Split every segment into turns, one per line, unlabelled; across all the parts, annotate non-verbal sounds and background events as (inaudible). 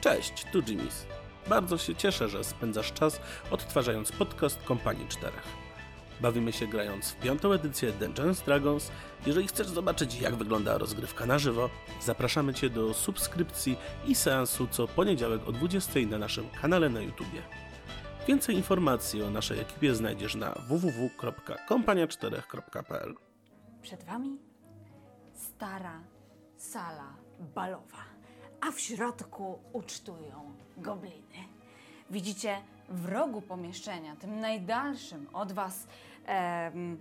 Cześć, tu Jimis. Bardzo się cieszę, że spędzasz czas odtwarzając podcast Kompanii Czterech. Bawimy się grając w piątą edycję Dungeons Dragons. Jeżeli chcesz zobaczyć, jak wygląda rozgrywka na żywo, zapraszamy Cię do subskrypcji i seansu co poniedziałek o 20 na naszym kanale na YouTubie. Więcej informacji o naszej ekipie znajdziesz na www.kompania4.pl.
Przed wami stara sala balowa, a w środku ucztują gobliny. Widzicie w rogu pomieszczenia, tym najdalszym od was, e, em,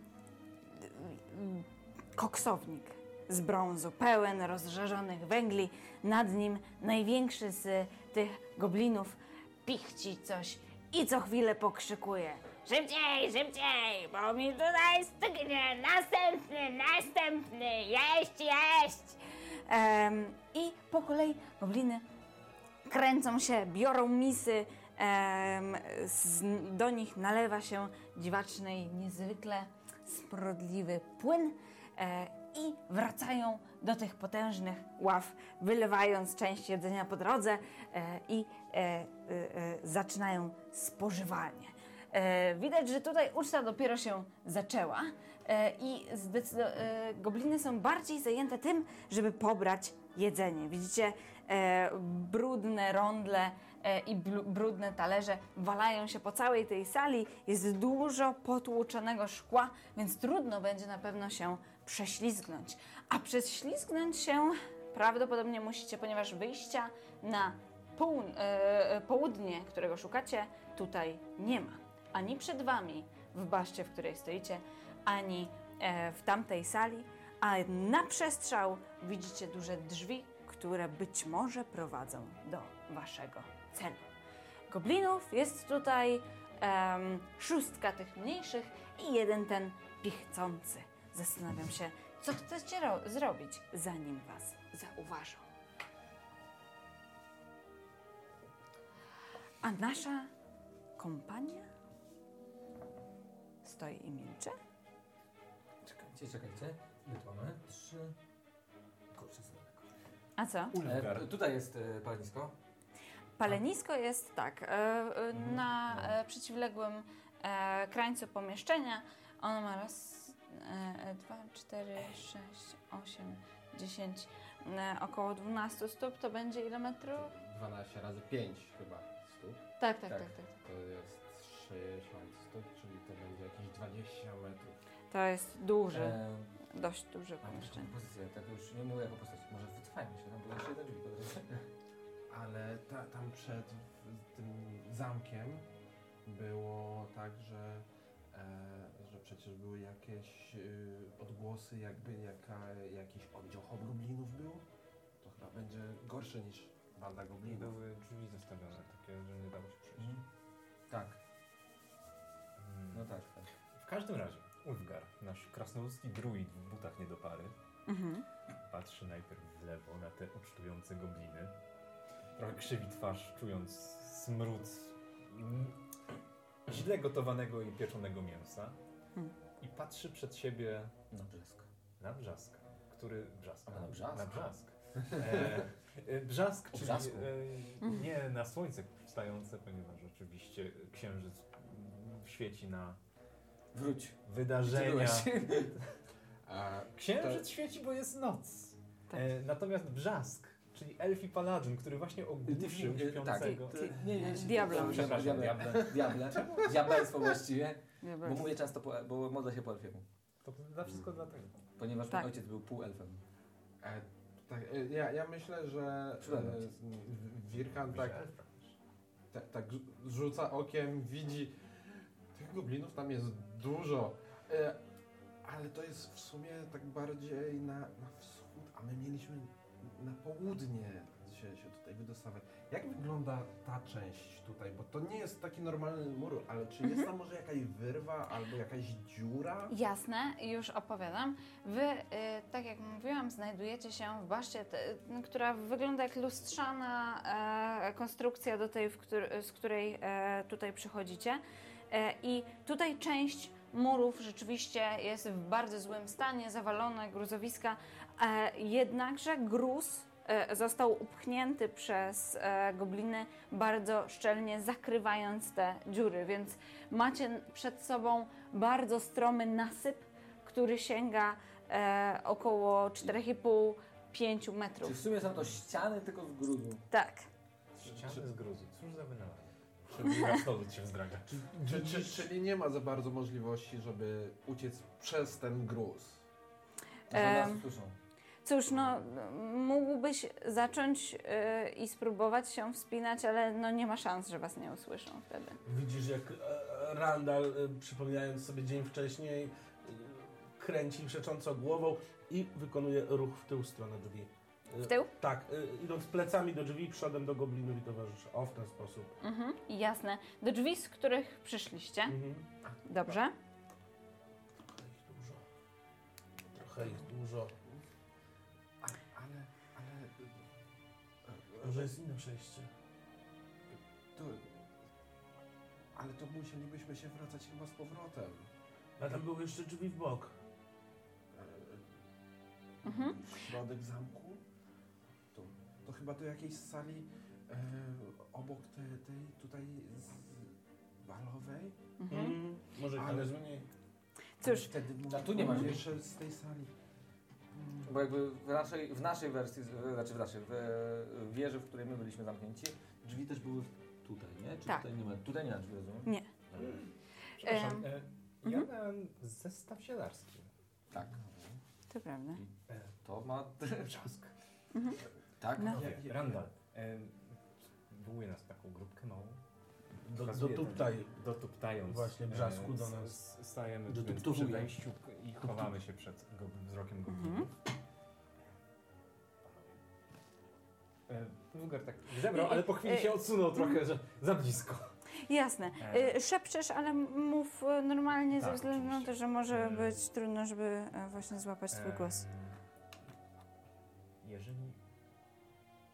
koksownik z brązu, pełen rozżarzonych węgli. Nad nim największy z tych goblinów pichci coś i co chwilę pokrzykuje.
Szybciej, szybciej, bo mi tutaj stygnie. Następny, następny, jeść, jeść.
Em, I po kolei gobliny kręcą się, biorą misy, em, z, do nich nalewa się dziwaczny i niezwykle sprodliwy płyn e, i wracają do tych potężnych ław, wylewając część jedzenia po drodze e, i e, e, e, zaczynają spożywanie. E, widać, że tutaj uczta dopiero się zaczęła e, i zdecydo- e, gobliny są bardziej zajęte tym, żeby pobrać jedzenie. Widzicie, e, brudne rondle e, i blu- brudne talerze walają się po całej tej sali. Jest dużo potłuczonego szkła, więc trudno będzie na pewno się prześlizgnąć. A prześlizgnąć się prawdopodobnie musicie, ponieważ wyjścia na Połun- e, e, południe, którego szukacie, tutaj nie ma. Ani przed wami, w baszcie, w której stoicie, ani e, w tamtej sali, a na przestrzał widzicie duże drzwi, które być może prowadzą do waszego celu. Goblinów jest tutaj em, szóstka tych mniejszych i jeden ten pichcący. Zastanawiam się, co chcecie ro- zrobić, zanim was zauważą. A nasza kompania stoi i milczy?
Czekajcie, czekajcie. Ile tu mamy? Trzy. Kurczę, znak.
A co?
E, tu- tutaj jest e, palenisko.
Palenisko jest tak, e, e, na e, przeciwległym e, krańcu pomieszczenia. Ono ma raz, e, e, dwa, cztery, sześć, osiem, dziesięć, e, około 12 stóp. To będzie ile
No.
metrów?
12 razy 5 chyba stóp.
Tak, tak, tak.
Tak.
tak, tak.
To jest 60 stóp, czyli to będzie jakieś 20 metrów.
To jest duże,
E,
dość duże
mam taką
pomieszczenie.
pozycję, tak już nie mówię jako postać. Może wycofajmy się, tam było jeszcze jedno drzwi. po drodze.
Ale ta, tam przed w- tym zamkiem było tak, że, e, że przecież były jakieś y, odgłosy, jakby jaka, jakiś oddział hobgoblinów był. To chyba będzie gorsze niż banda
I
goblinów.
były drzwi zostawione, takie, że nie dało się przejść.
Mhm. Tak,
Mm.
no tak. tak.
Mhm.
W każdym razie, Ulfgar, nasz krasnoludzki druid w butach nie do pary,
Mhm.
patrzy najpierw w lewo na te ucztujące gobliny. Trochę krzywi twarz, czując smród mm, źle gotowanego i pieczonego mięsa.
Hmm.
I patrzy przed siebie
No brzesk.
na Brzaska, który Brzask.
A, na Brzask.
Na
(laughs)
Brzask. E, e, brzask, czyli e,
Brzasku.
nie na słońce wstające, ponieważ oczywiście księżyc mm, świeci na
Wróć.
wydarzenia.
A
Tak.
Księżyc świeci, bo jest noc.
Tak.
E, natomiast Brzask, czyli elfi paladyn, który właśnie ogłuszył
Ty-
śpiącego...
tak.
Mhm.
Nie, nie, nie.
Diablo.
Diable,
Przepraszam,
diable,
diable.
diable. Diabelstwo właściwie.
Dobra.
Bo mówię często, po, bo modlę się po elfiemu.
To dla wszystko
Mm.
dlatego.
Ponieważ
Tak.
mój ojciec był półelfem.
E, tak, e, ja, ja myślę, że
Przydadzą ci.
e, Wirkan tak, tak, tak rzuca okiem, widzi tych goblinów tam jest dużo, e, ale to jest w sumie tak bardziej na, na wschód, a my mieliśmy na południe się, się tutaj wydostawać. Jak wygląda ta część tutaj? Bo to nie jest taki normalny mur, ale czy jest tam może jakaś wyrwa albo jakaś dziura?
Jasne, już opowiadam. Wy, y, tak jak mówiłam, znajdujecie się w baszcie, t, która wygląda jak lustrzana e, konstrukcja do tej, w któr, z której e, tutaj przychodzicie. E, I tutaj część murów rzeczywiście jest w bardzo złym stanie, zawalone gruzowiska, e, jednakże gruz e, został upchnięty przez e, gobliny, bardzo szczelnie zakrywając te dziury, więc macie przed sobą bardzo stromy nasyp, który sięga e, około 4,5-5 metrów.
Czyli w sumie są to ściany tylko z grudu.
Tak.
Ściany z gruzu. Cóż za
(laughs)
wynalazek. Rasnolud się wzdraga.
Czy, czy, czyli nie ma za bardzo możliwości, żeby uciec przez ten gruz.
To że
Em.
nas słyszą.
Cóż, no, mógłbyś zacząć e, i spróbować się wspinać, ale no, nie ma szans, że was nie usłyszą wtedy.
Widzisz, jak e, Randall, e, przypominając sobie dzień wcześniej, e, kręci przecząco głową i wykonuje ruch w tył stronę drzwi. E,
W tył?
Tak, e, idąc plecami do drzwi, przodem do goblinów i towarzyszy. O, w ten sposób.
Mhm, jasne. Do drzwi, z których przyszliście.
Mhm.
Dobrze.
Trochę ich dużo. Trochę ich dużo.
Ale, ale, ale... e,
Może jest inne przejście.
To, ale to musielibyśmy się wracać chyba z powrotem.
A tam były jeszcze drzwi w bok.
Mhm.
E, W środek zamku? To, to chyba do jakiejś sali e, obok tej, tej tutaj z balowej?
Mhm.
Mm, Może
Ale-
ale mniej.
Cóż,
Wtedy
A tu nie ma drzwi.
jeszcze z tej sali.
Bo jakby w naszej, w naszej wersji, z- znaczy w naszej, w e, wieży, w której my byliśmy zamknięci, drzwi też były tutaj, nie? Czy
Tak.
tutaj nie ma, tutaj nie ma drzwi, rozumiem?
Nie.
Dobra.
Przepraszam. E, ja miałem zestaw zielarski.
Tak.
to prawda.
To ma...
Trzask.
Tak?
No.
Nie, Randall. E, Wywołuje nas taką grupkę małą.
Do, do
Pokazuje ten-
tutaj.
Dotuptając.
Właśnie brzasku do nas.
s- s- Stajemy
Do
więc
tuptuchu.
przy wejściu k- i chowamy się przed go, wzrokiem goblinów. Mhm. Wulgar tak zebrał, ale po chwili
E,
się odsunął trochę, że za blisko.
Jasne.
E.
Y, Szepczesz, ale mów y, normalnie ze
Tak,
względu na to,
oczywiście.
że może
Mm.
być trudno, żeby y, właśnie złapać twój
Em,
głos.
E, Jeżeli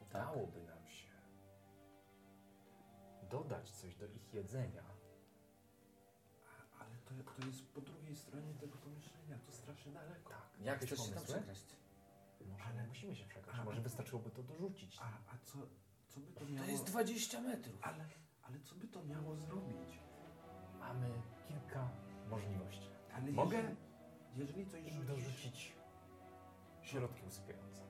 udałoby nam się dodać coś do ich jedzenia,
Ale to, to jest po drugiej stronie tego pomieszczenia, to strasznie daleko.
tak.
Jak
jakieś
chcesz się tam
pomysły?
przekraść?
Może
Ale-
nie musimy się przekraść,
ale-
może wystarczyłoby to dorzucić.
A, a co, co by to miało...
To jest 20 metrów.
Ale, ale co by to miało zrobić?
Mamy kilka możliwości.
Ale
Mogę?
Jeżeli, jeżeli coś rzucisz...
Dorzucić środki usypiające.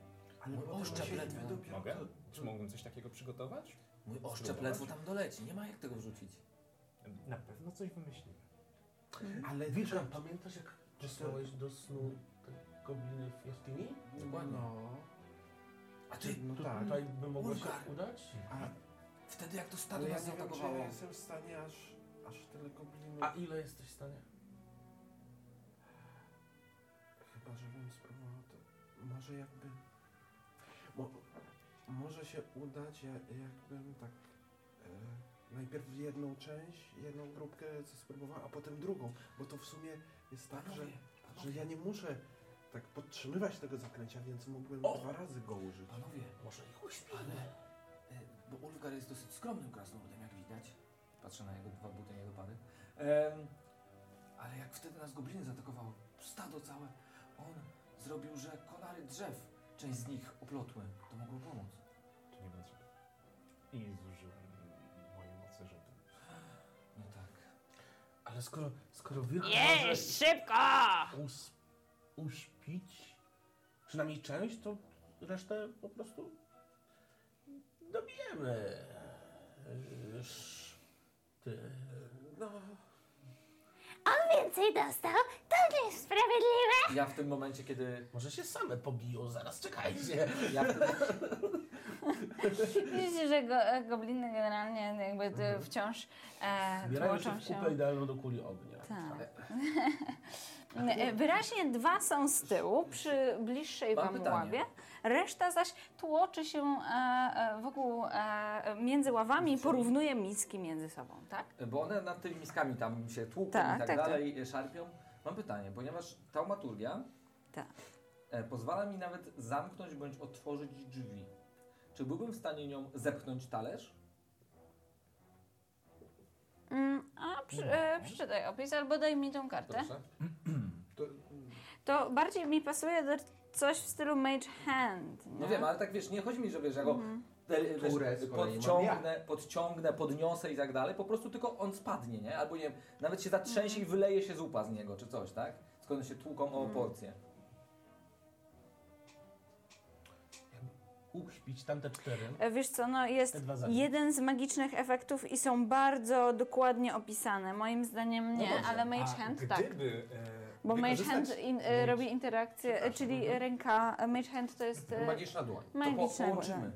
Ale
Mój
potem
oszczep
się
ledwo.
wydopią,
Mogę?
to-
Czy mógłbym coś takiego przygotować?
Mój oszczep
Spróbować?
ledwo tam doleci, nie ma jak tego wrzucić.
Na pewno coś wymyślimy.
Ale
Wilka,
Wilka,
pamiętasz jak przysłałeś do snu te gobliny w jaskini?
Dokładnie.
No,
A ty,
no tak.
Tutaj by mogło się
Ulgar.
udać?
A,
wtedy jak to stado
ale No ja
nas
nie wiem, czy ja
zaatakowało.
jestem w stanie aż, aż tyle goblinów.
A ile jesteś w stanie?
Chyba, żebym spróbował to. Może jakby... Mo, może się udać, ja- jakbym tak... E, najpierw jedną część, jedną grupkę spróbował, a potem drugą. Bo to w sumie jest tak, że,
Panowie,
że ja nie muszę tak podtrzymywać tego zaklęcia, więc mógłbym
O!
dwa razy go użyć.
panowie,
Może ich
ale... e, Bo Ulfgar jest dosyć skromnym krasnoludem, jak widać. Patrzę na jego dwa buty niedopady. Em, ale jak wtedy nas gobliny zaatakowały, stado całe, on zrobił, że konary drzew, część z nich oplotły. To mogło pomóc.
Czy nie będzie? I zużyłem moje moce, żeby...
No tak.
Ale skoro, skoro wilk może
Jeść szybko!
us, uśpić przynajmniej część, to resztę po prostu dobijemy. Sz- Ty.
No,
On więcej dostał, to nie jest sprawiedliwe.
Ja w tym momencie, kiedy...
Może się same pobiją, zaraz czekajcie.
Ja w tym
Widzicie, że go, e, gobliny generalnie jakby d- wciąż e,
Zbierają się
tłoczą
w
się.
kupę idealną do kuli ognia.
Tak. E, Wyraźnie dwa są z tyłu, przy bliższej
Mam
wam
pytanie.
ławie. Reszta zaś tłoczy się e, e, wokół, e, między ławami i porównuje miski między sobą, tak?
Bo one nad tymi miskami tam się tłuką
Tak,
i tak,
tak,
dalej, e, szarpią. Mam pytanie, ponieważ taumaturgia
Tak.
e, pozwala mi nawet zamknąć bądź otworzyć drzwi. Czy byłbym w stanie nią zepchnąć talerz?
Mm, a przy, e, przeczytaj opis albo daj mi tą kartę.
Proszę.
(clears throat) to,
To bardziej mi pasuje do coś w stylu Mage Hand. Nie? Mhm.
No wiem, ale tak wiesz, nie chodzi mi, że wiesz, ja go e, wiesz,
Które z kolei mam
podciągnę, podciągnę, podniosę i tak dalej, po prostu tylko on spadnie, nie? Albo nie wiem, nawet się
Mhm.
zatrzęsie i wyleje się zupa z niego, czy coś, tak? Skąd się tłuką o porcję.
Uśpić tamte cztery.
E, Wiesz co, no jest
Te dwa zadania.
jeden z magicznych efektów i są bardzo dokładnie opisane. Moim zdaniem
No
nie,
dobrze,
ale Mage
a
Hand tak.
gdyby, e,
Bo Mage
wykorzystać-
Hand in, e, robi interakcję, e, czyli ręka, e, Mage Hand to jest e,
Magiczna dłoń.
To po,
magiczna woda.
połączymy.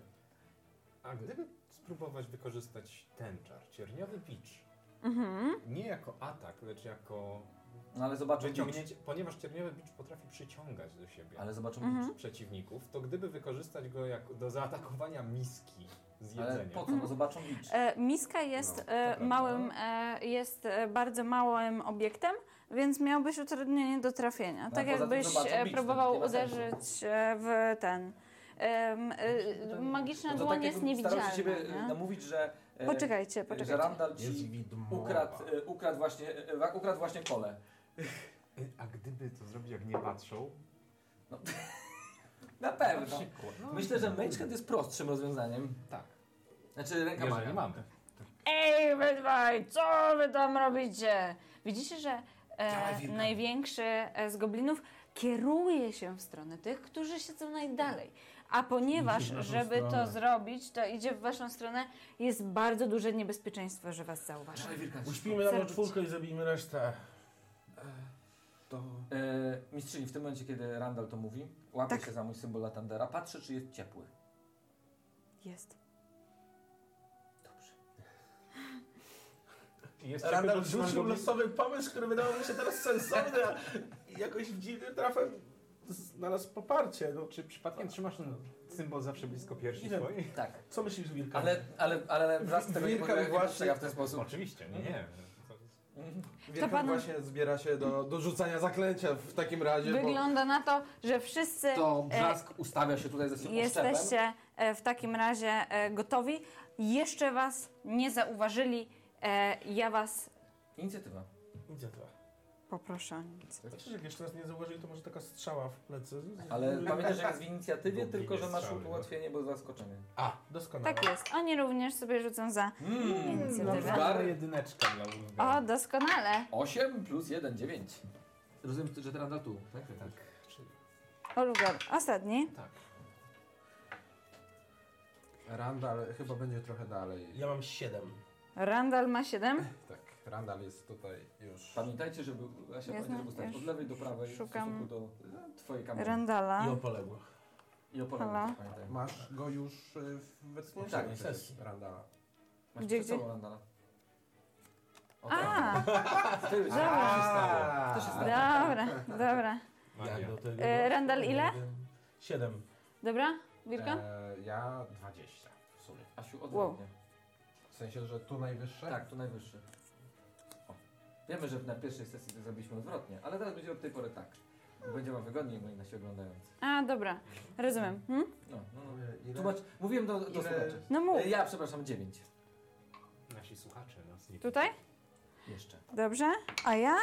A gdyby spróbować wykorzystać ten czar, cierniowy bicz,
Mhm.
nie jako atak, lecz jako
No ale zobaczymy.
wyciągnięcie, ponieważ cierniowy bicz potrafi przyciągać do siebie
Ale zobaczymy.
Mhm.
przeciwników, to gdyby wykorzystać go jako do zaatakowania miski z
Ale
jedzeniem,
po co? No zobaczą licz.
E, Miska jest
No, to
e,
prawda.
małym, e, jest e, bardzo małym obiektem, więc miałbyś utrudnienie do trafienia.
No,
tak
a poza tym
jakbyś e,
zobaczą bić, to nie
próbował
ma sensu.
uderzyć e, w ten. em, e, magiczna
No to
dłoń
tak
jest
jakbym
niewidzialna.
Starał się ciebie e,
nie?
namówić, że, e,
Poczekajcie,
e,
poczekajcie.
że Randall
Jest
ci
widmowa.
ukradł, e, ukradł właśnie, e, wa- ukradł właśnie kole.
Y, A gdyby to zrobić, jak nie patrzą?
Na pewno.
Przykład. No,
Myślę, że Magehead jest prostszym rozwiązaniem.
Tak.
Znaczy ręka
Jeżeli
Maria.
mamy.
Ej, wy dwaj, co wy tam robicie? Widzicie, że
Dawaj,
e,
wilka.
największy e, z goblinów kieruje się w stronę tych, którzy siedzą najdalej. A ponieważ,
Idziesz w naszą
żeby to
stronę.
zrobić, to idzie w waszą stronę, jest bardzo duże niebezpieczeństwo, że was zauważy.
Czarewirka.
Uśpimy
Zabić.
tam czwórkę i zabijmy resztę.
To...
E, mistrzyni, w tym momencie, kiedy Randall to mówi, łapie
Tak.
się za mój symbol Latandera, patrzy, czy jest ciepły.
Jest.
Dobrze.
Jest
Randall
ciekawe, że mam
rzucił
go-
losowy pomysł, który wydawał mi się teraz sensowny, a jakoś dziwnym trafem znalazł poparcie. No,
Czy przypadkiem trzymasz ten symbol zawsze blisko piersi
Ile?
swojej?
Tak.
co myślisz, Wilka?
Ale, ale, ale wraz z tego nie
Wilka
powiem, jak
właśnie-
postrzega w ten sposób.
Oczywiście, nie, nie.
Wielka
pan-
właśnie zbiera się do, do rzucania zaklęcia w takim razie, bo...
Wygląda na to, że wszyscy
To
e,
brzask ustawia się tutaj ze swoim oszczepem.
Jesteście e, w takim razie e, gotowi. Jeszcze was nie zauważyli. E, Ja was
Inicjatywa.
Idzie to.
poproszę o nic.
Znaczy, jak jeszcze raz nie zauważyli, to może taka strzała w plecy.
Ale pamiętaj, że jest w inicjatywie,
Goblinie
tylko że masz
strzały, no.
ułatwienie, bo zaskoczenie.
A, doskonale.
Tak jest. Oni również sobie rzucą za
Mm.
Mm,
inicjatywę.
Ulfgar.
jedyneczka dla
O,
Ulfgara.
doskonale.
8 plus 1, 9. Rozumiem, że teraz tu, tak?
Tak.
Olgar, ostatni.
Randall chyba będzie trochę dalej.
Ja mam siedem.
Randall ma 7.
Tak, Randall jest tutaj już.
Pamiętajcie, żeby
Jasne,
Asia pamiętaj, żeby stać
już
od lewej do prawej
szukam.
w stosunku do e, twojej kamery.
I
Randala.
o poległych.
I opowiadam,
Halo?
pamiętaj.
Masz go już y, w wecnie?
Tak,
sesji.
Randala.
Masz
Gdzie,
przed
gdzie?
sobą Randala. O,
A,
tak. Ty już
dobra.
to się stało. To się stało.
dobra, dobra.
Jak
Magia.
do tego?
E, Randall ile?
Siedem.
Dobra, Wilka?
E, ja 20 w sumie.
Asiu, ode
Wow.
mnie.
W sensie, że tu najwyższe?
Tak, tu najwyższy. O. Wiemy, że na pierwszej sesji to zrobiliśmy odwrotnie, ale teraz będzie od tej pory tak. Będzie wam wygodniej, moi nasi oglądający.
A, dobra. Rozumiem. Hm?
No, no, no.
E, ile-
Tłumacz, mówiłem do, do
ile-
słuchaczy.
No mów.
E, Ja, przepraszam, 9.
Nasi słuchacze nas nie
Tutaj?
Jeszcze.
Dobrze. A ja?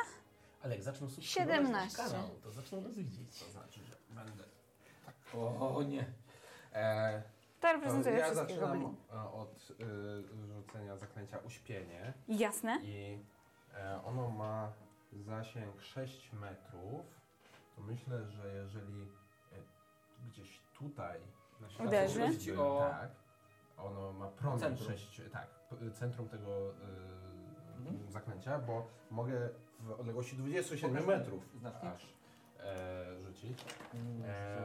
Ale jak zaczną subskrybować nasz
17.
kanał, to zaczną nas widzieć.
To znaczy, że będę.
O nie.
E,
To
to
reprezentuje
ja
wszystkich
zaczynam
goblin.
e, od y, rzucenia zaklęcia uśpienie
Jasne.
i e, ono ma zasięg 6 metrów. To myślę, że jeżeli e, gdzieś tutaj
Nasi
Uderzy?
słuchacze
Chodzi ci o-
Tak. Ono ma promień
Centrum.
sześć, tak, p- centrum tego y,
Mhm.
zaklęcia, bo mogę w odległości 27
Pokaż mi
metrów
znacznik.
aż e, rzucić.
Eee.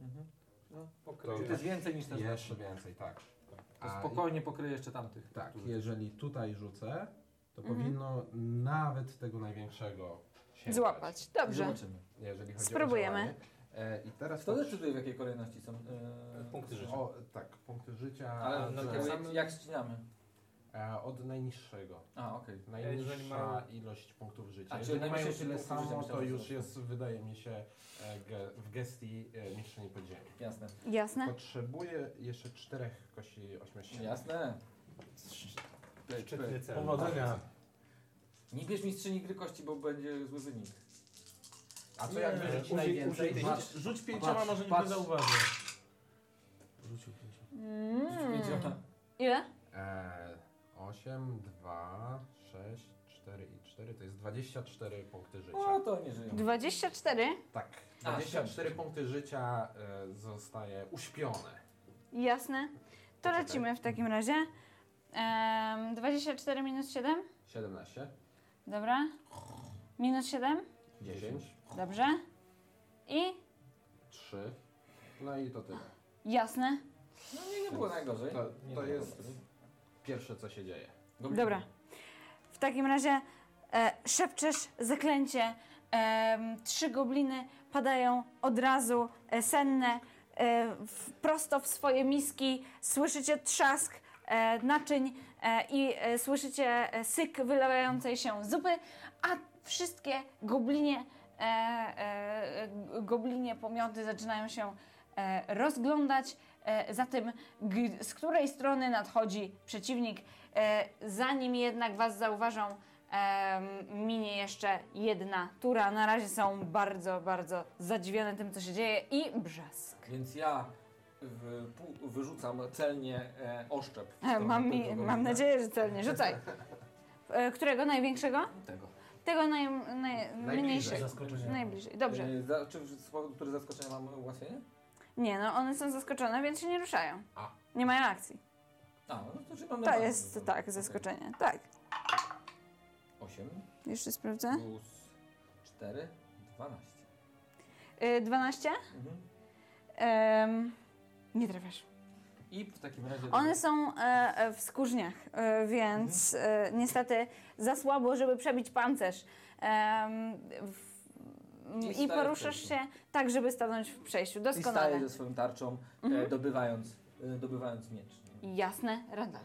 Mhm. No,
To
pokryj. Czy to jest więcej niż ten
Jeszcze
znacznik?
więcej, tak.
To
A
spokojnie pokryję jeszcze tamtych.
i- Tak,
Którzy-
jeżeli tutaj rzucę, to
Mhm.
powinno nawet tego największego sięgać.
Złapać. Dobrze.
Zobaczymy.
Jeżeli chodzi
Spróbujemy.
o działanie. E, I teraz
Kto
to-
decyduje, w jakiej kolejności są e,
Punkty życia.
O, tak, punkty życia.
Ale no,
od,
na
e,
tył, jak, jak ścinamy?
e, od najniższego.
A, okej.
Najniższa
Jeżeli mają-
ilość punktów życia.
A,
A,
czyli
Jeżeli mają
najmniejsze
tyle
punktów życia
samo,
myślałem,
to
że
już
zawsze.
jest, wydaje mi się, e, ge- w gestii e, mistrzyni podziemi.
Jasne.
Jasne.
Potrzebuję jeszcze czterech kości ośmiościennych.
Jasne.
Szczytny cel.
Powodzenia.
Nie bierz mistrzyni gry kości, bo będzie zły wynik. A co jak wyrzuci
użyj-
najwięcej?
użyj-
Patrz,
Rzuć pięcioma,
patrz,
może nikt
patrz.
nie zauważy. Rzucił pięcioma.
Mm. Ile?
Eee, 8, 2, 6, 4 i 4 to jest 24 punkty
No
życia.
to nie żyją.
24?
Tak.
A,
24
siedem.
punkty życia e, zostaje uśpione.
Jasne. To
Poczekaj.
lecimy w takim razie. Em, 24 minus 7?
17,
Dobra. Minus 7?
10,
Dobrze. I
3. No i to tyle.
jasne.
No nie, nie było najgorzej.
To,
Nie
to
ma
jest
problemu.
pierwsze co się dzieje.
Gobliny.
Dobra. W takim razie e, szepczesz zaklęcie. Em, trzy gobliny padają od razu e, senne e, w, prosto w swoje miski. Słyszycie trzask e, naczyń e, i e, słyszycie e, syk wylewającej się zupy, a wszystkie goblinie, e, e, g- goblinie pomioty zaczynają się e, rozglądać. E, za tym, g- z której strony nadchodzi przeciwnik. E, zanim jednak Was zauważą, em, minie jeszcze jedna tura. Na razie są bardzo, bardzo zadziwione tym, co się dzieje i brzask. E,
Więc ja w, pu- wyrzucam celnie e, oszczep. w
E,
stronę
Mam,
tego
mi,
goblina.
mam nadzieję, że celnie. Rzucaj. E, Którego? Największego?
Tego.
Tego naj, naj,
Najbliżej.
najmniejszego.
Zaskoczenie.
Najbliżej. Dobrze.
E, za, czy z powodu, który zaskoczenia mam ułatwienie?
Nie, no one są zaskoczone, więc się nie ruszają.
A.
Nie mają akcji.
A, no to czy mam
To
normalnie,
jest
dobra.
tak, zaskoczenie. Tak.
Okej. Osiem
Jeszcze sprawdzę.
plus cztery, dwanaście. No.
E, 12?
Mhm.
Em, nie trafiasz.
I w takim razie...
One są e, e, w skórzniach, e, więc e, niestety za słabo, żeby przebić pancerz. Em, w, m,
I
I,
staję w
poruszasz
przejściu.
się tak, żeby stanąć w przejściu.
I
Doskonale.
staję ze swoją tarczą,
Mhm.
e, dobywając, e, dobywając miecz. nie?
Jasne, Randall.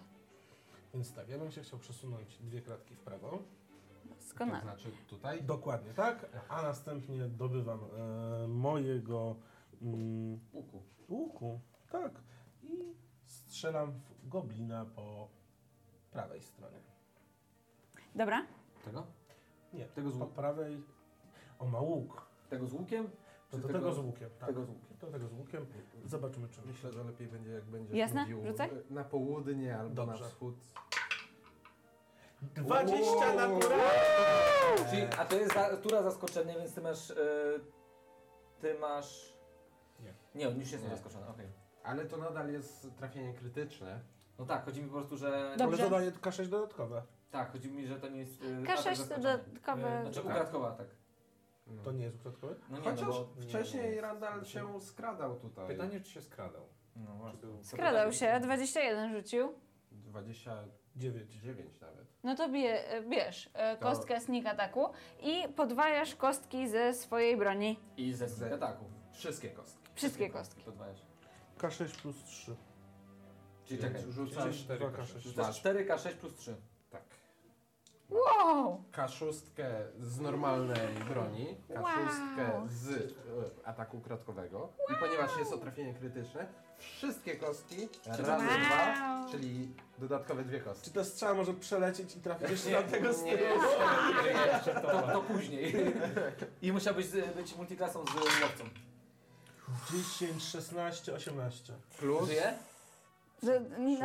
Więc tak, ja bym się chciał przesunąć dwie kratki w prawo.
To
Doskonale.
znaczy tutaj
Dokładnie, tak. A następnie dobywam e, mojego mm,
Łuku.
łuku. Tak. I strzelam w goblina po prawej stronie.
Dobra,
Tego?
Nie,
Tego z
po
łuku.
prawej. O, ma łuk.
Tego z łukiem?
To
Czy
do tego z tak. łukiem. Tak.
Tego z łukiem.
Do tego z łukiem. Zobaczymy, czy
myślę, że lepiej będzie jak będziesz
Jasne,
mówił
rzucaj.
e, na południe albo
Dobrze.
na wschód.
20 na górę!
Czyli, a to jest za, tura zaskoczenia, więc ty masz... E, ty masz...
Nie.
Nie, on już jest
Nie.
zaskoczony, okej.
Ale to nadal jest trafienie krytyczne.
No tak, chodzi mi po prostu, że...
Ale
dobrze.
dodaję K6 dodatkowe.
Tak, chodzi mi, że to nie jest... e, atak
K6
zaskoczenia.
dodatkowe.
Znaczy
Tak.
ukradkowy atak.
No.
To nie jest ukradkowy?
No nie,
Chociaż
no bo...
wcześniej
nie.
Randall się skradał tutaj.
Pytanie, czy się skradał?
No
Czy
właśnie.
był...
tak
Skradał się, 21 rzucił.
29
9.
nawet.
No to bie, e, bierz e,
To-
kostkę sneak ataku i podwajasz kostki ze swojej broni.
I ze tak.
Ze-
ataków.
Wszystkie kostki.
Wszystkie kostki.
Podwajasz.
K6 plus 3.
Czyli
Więc
czekaj,
rzucasz
czyli cztery
dwa
kosze.
K6.
rzucasz 4K6 plus 3.
tak.
Wow!
K6 z normalnej broni, K6
Wow.
z e, ataku kratkowego. I ponieważ jest to trafienie krytyczne, wszystkie kostki razy
Wow.
dwa, czyli dodatkowe dwie kostki.
Czy ta strzała może przelecieć i trafić jeszcze na tego
Nie, jeszcze.
To, to później. (laughs) I musiałbyś z- być multiklasą z łowcą.
10, 16, 18.
Plus
Żyje?
Do, nie,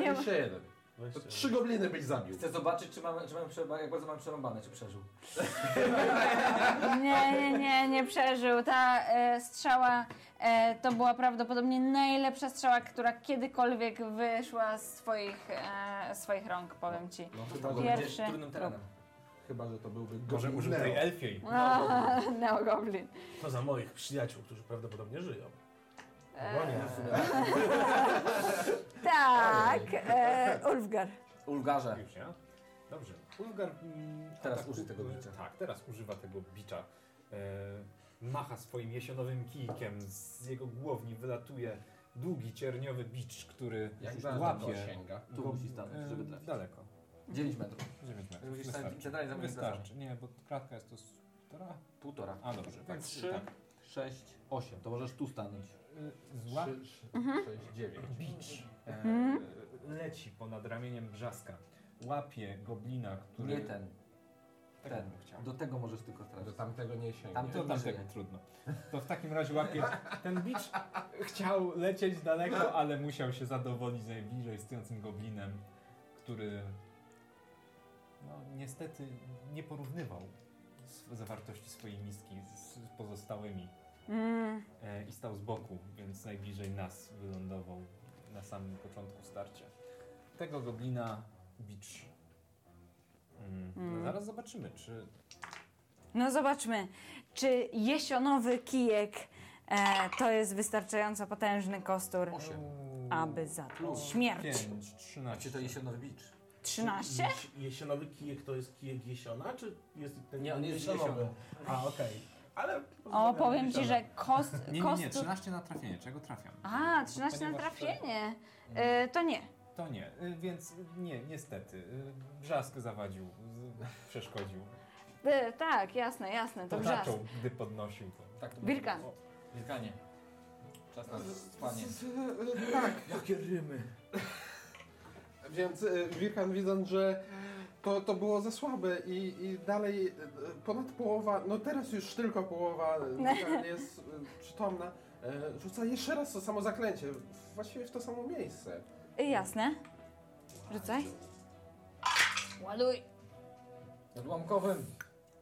nie ma.
21. To
20.
trzy gobliny byś zabił.
Chcę zobaczyć, czy mam, czy mam przerwa, jak bardzo mam przerąbane, czy przeżył.
Nie, nie, nie, nie przeżył. Ta e, strzała e, to była prawdopodobnie najlepsza strzała, która kiedykolwiek wyszła z swoich, e, swoich rąg, powiem ci.
No,
chyba,
to
że
będzie
Pierwszy
trudnym terenem.
Chyba, że to byłby
Może
goblin
użył
Nero.
tej elfiej.
No, (laughs) no goblin.
To za moich przyjaciół, którzy prawdopodobnie żyją.
E,
Eee.
tak, e, Ulfgar.
Ulgarze.
Już ja? Dobrze. Ulgar mm,
Teraz
ataku-
użyj tego bicza.
Tak, teraz używa tego bicza. E, macha swoim jesionowym kijkiem, z jego głowni wylatuje długi cierniowy bicz, który
Jak
już
daleko
łapie.
sięga?
Tu
go-
musi stanąć, żeby trafić.
Daleko.
9 metrów.
9 metrów.
Musisz stanąć
Wystarczy.
centralnie za moim
Wystarczy. Nie, bo kratka jest to z półtora.
Półtora.
A dobrze, tak.
trzy.
tak.
6, 8. To możesz tu stanąć.
Y, Złap
Trzy, trzy,
Mhm.
sześć, dziewięć.
bicz. E, leci ponad ramieniem brzaska. Łapie goblina, który.
Nie ten.
Tego
Ten.
bym chciał.
Do tego możesz tylko trafić.
Do tamtego nie sięgnie.
Tamto-
To tamtego
żyje.
trudno. To w takim razie łapie. Ten bicz chciał lecieć daleko, ale musiał się zadowolić najbliżej stojącym goblinem, który no, niestety nie porównywał sw- zawartości swojej miski z- z pozostałymi
Mm,
e, i stał z boku, więc najbliżej nas wylądował na samym początku starcia. Tego goblina bicz. Mm.
Mm.
Zaraz zobaczymy, czy
no zobaczmy, czy jesionowy kijek e, to jest wystarczająco potężny kostur,
Osiem.
aby zatłuc śmierć.
5, 13.
Znaczy to jesionowy bicz.
13?
Jes- Jesionowy kijek to jest kijek jesiona, czy jest ten
Nie, on jest jesionowy.
A, okej. Ale...
O, powiem ci, że kost,
(laughs) Nie, nie, nie,
kostur...
13 na trafienie. Czego trafiam?
A, 13 na
Ponieważ,
trafienie. E, to nie.
e, To nie, e, więc e, nie, niestety. e, Brzask zawadził, z- przeszkodził.
E, tak, jasne, jasne, to wrzask.
Potaczał, gdy podnosił to.
Tak to
Wilkan.
może być. O, Wilkanie. Czas na spanie.
Tak.
Jakie rymy.
Więc y, Wirkan widząc, że to, to było za słabe i, i dalej y, ponad połowa, no teraz już tylko
(laughs)
połowa y, Wirkan jest y, przytomna, y, rzuca jeszcze raz to samo zaklęcie, w- właściwie w to samo miejsce.
E, jasne. Rzucaj. Ładuj.
Odłamkowym.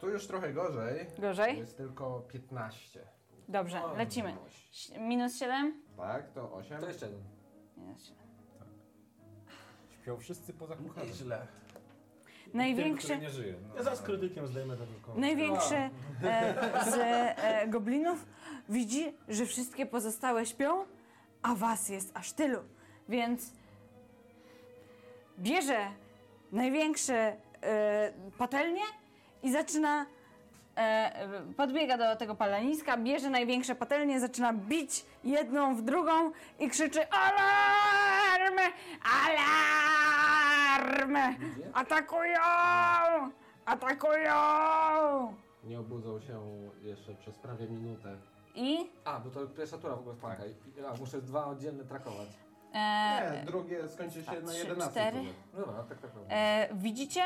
Tu już trochę gorzej,
Gorzej?
jest tylko 15.
Dobrze, lecimy. Ś- Minus 7?
Tak, to 8.
To jeszcze jeden.
Minus 7.
Śpią wszyscy poza kucharzem.
Nieźle.
Tym,
Największy,
który nie żyje. No,
Ja zaraz krytykiem zdejmę ten koło.
największy e, z e, goblinów widzi, że wszystkie pozostałe śpią, a was jest aż tylu. Więc bierze największe e, patelnie i zaczyna. E, podbiega do tego paleniska, bierze największe patelnie, zaczyna bić jedną w drugą i krzyczy: Alarm! Alarm! Atakują! Atakują!
Nie obudzą się jeszcze przez prawie minutę.
I.
A, bo to pierwsza tura w ogóle spanka. A, muszę dwa oddzielne trakować.
Nie,
E,
drugie skończy
dwa,
się na
trzy,
11.
cztery.
turze.
No dobra, tak, tak, tak.
e, widzicie,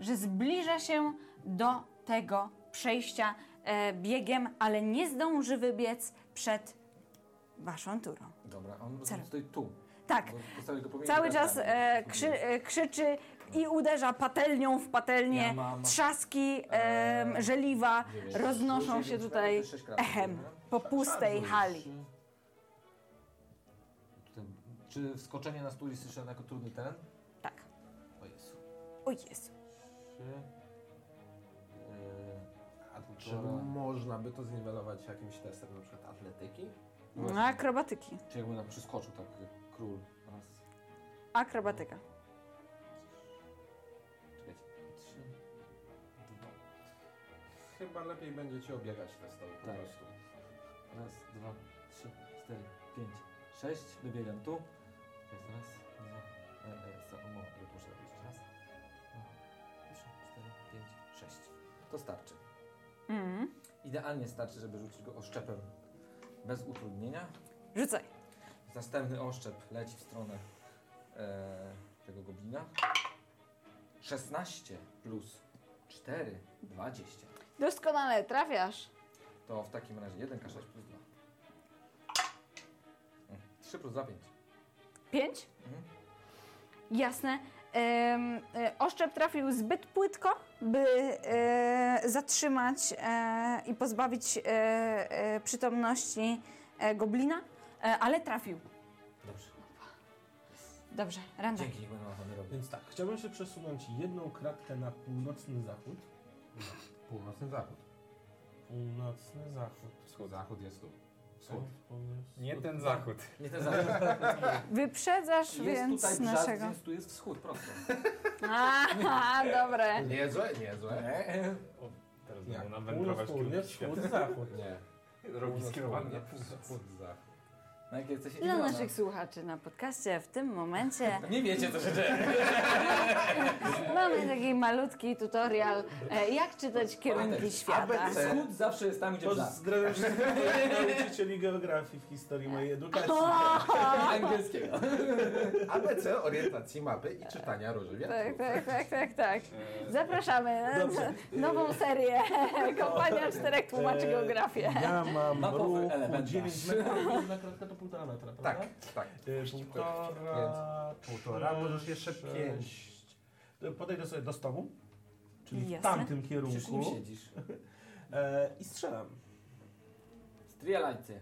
że zbliża się do tego przejścia e, biegiem, ale nie zdąży wybiec przed waszą turą.
Dobra, on
Cel.
stoi tu.
Tak,
Bo postawię go pomiędzy
cały
bratami.
czas e, krzy, e, krzyczy i uderza patelnią w patelnię.
Ja mam-
Trzaski em,
Eee,
żeliwa
dziewięć.
roznoszą się tutaj
Sześć kratek,
echem
dobra?
po pustej hali.
Tutaj- Czy wskoczenie na stół jest jeszcze jako trudny teren?
Tak.
O Jezu.
O Jezu.
Trzy. Yy, a
Czy
półtora-
można by to zniwelować jakimś testem, na przykład atletyki?
No, akrobatyki.
Czy jakby nam przyskoczył tak jak król. Raz,
Akrobatyka.
czekajcie. Trzy. Dwa.
Chyba lepiej będzie ci obiegać testowo po
Tak.
prostu.
Raz, dwa, trzy, cztery, pięć, sześć. Wybiegam tu. Jest raz, dwa. E, e, za- o, moment, bo tu muszę zrobić. Raz, dwa, trzy, cztery, pięć, sześć. To starczy.
Mhm.
Idealnie starczy, żeby rzucić go oszczepem. Bez utrudnienia.
Rzucaj.
Następny oszczep leci w stronę e, tego goblina. 16 plus 4, 20.
Doskonale, trafiasz.
To w takim razie 1k6 plus 2. 3 plus 2, 5.
Pięć?
Mhm.
Jasne. Em, e, oszczep trafił zbyt płytko, by e, zatrzymać e, i pozbawić e, e, przytomności e, goblina, e, ale trafił.
Dobrze.
Dobrze, randa.
Dzięki, nie będę na to nie robił.
Więc tak, chciałbym się przesunąć jedną kratkę na północny zachód.
Północny zachód.
Północny zachód.
Wschód, zachód jest tu.
Wschód, północ.
nie ten zachód.
Nie ten zachód.
Wyprzedzasz
Jest
więc
tutaj brzask,
naszego.
więc tu jest wschód, prosto.
(laughs) Aha, dobre.
Niezłe, niezłe.
E,
O, teraz
Jak
będą nam
Północ,
wędrować
południe,
(laughs)
kierunek
wschód,
świata.
zachód.
Nie.
Robi skierowanie.
Północ, Wschód, zachód.
No jak jesteś
Dla
idiota.
naszych słuchaczy na podcaście w tym momencie
Nie wiecie, co się dzieje.
mamy taki malutki tutorial, e, jak czytać kierunki
Pamiętaj,
świata.
ABC.
Wschód zawsze jest tam, gdzie wzar.
Pozdrawiam wszystkich (laughs) moich nauczycieli geografii w historii mojej edukacji.
(laughs) Angielskiego.
ABC, orientacji mapy i czytania róży
Tak,
wiatrów.
tak, tak, tak, tak. Zapraszamy na nową serię Kompania Czterech Tłumaczy
Eee,
Geografię.
Ja mam
Mapowy
ruchu
element.
9 metrów, na klatkę to półtora metra, prawda?
Tak, tak.
E, Półtora,
Półtora, możesz jeszcze
sześć.
pięć.
E, Podejdę sobie do stołu, czyli w
Jasne.
tamtym
Przecież nim
kierunku
siedzisz.
(laughs) e, i strzelam.
Strzelajcie.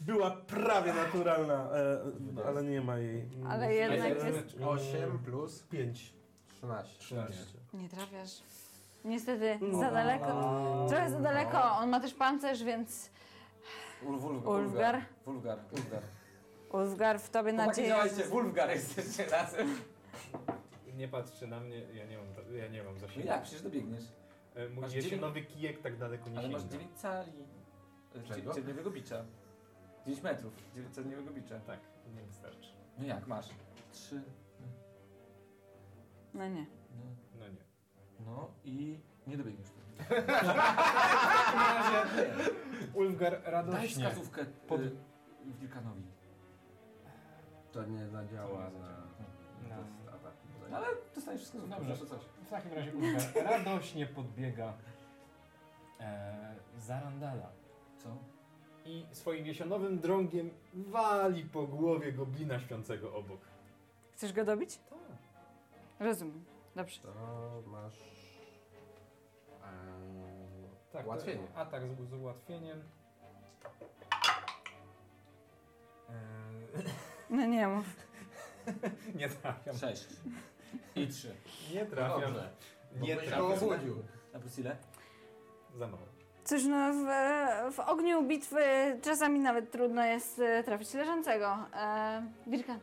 Była prawie naturalna, e, ale nie ma jej. Mm,
Ale jednak
e,
jest-
e,
8 plus
Pięć.
13.
13.
Nie trafiasz. Niestety, za
No.
daleko. Trochę za daleko. On ma też pancerz, więc
Ul- wul-
Ulfgar.
Wulgar, Ulfgar.
Uzgar w tobie
Chłopaki
nadzieja.
działajcie, Wulfgar jesteście razem.
Nie patrzcie na mnie, ja nie mam, ja nie mam
No
zasięgu.
jak, przecież dobiegniesz.
E, Mój
Masz
jesienowy kijek tak daleko nie
Ale masz
sięga.
9 cali. e,
Czego?
dzie- Dzienniowego bicza. 9 metrów, 9 dzienniowego bicza.
Tak, nie wystarczy.
No jak, masz? 3.
No nie.
No,
No nie.
no i nie dobiegniesz.
Ulfgar
Daj
radośnie.
wskazówkę pod...
Pod-
Wilkanowi.
To No. nie zadziała na
No,
Na-
test ataku.
Ale dostaniesz No, wskazówkę.
Dobrze.
proszę, coś.
W takim razie Ulfgar radośnie podbiega e, za Randala
Co?
I swoim jesionowym drągiem wali po głowie goblina śpiącego obok.
Chcesz go dobić?
Tak.
Rozumiem. Dobrze.
To masz...
Tak,
Tak, Ułatwienie.
to Atak z, z ułatwieniem.
(laughs)
Eee,
No nie mów.
nie trafiam.
6. I 3.
Nie trafiam.
Dobrze.
Nie
Bo byś
trafiam.
go obudził.
Na plus ile?
Za mało.
Cóż, no w, w ogniu bitwy czasami nawet trudno jest e, trafić leżącego. E, Wirkan.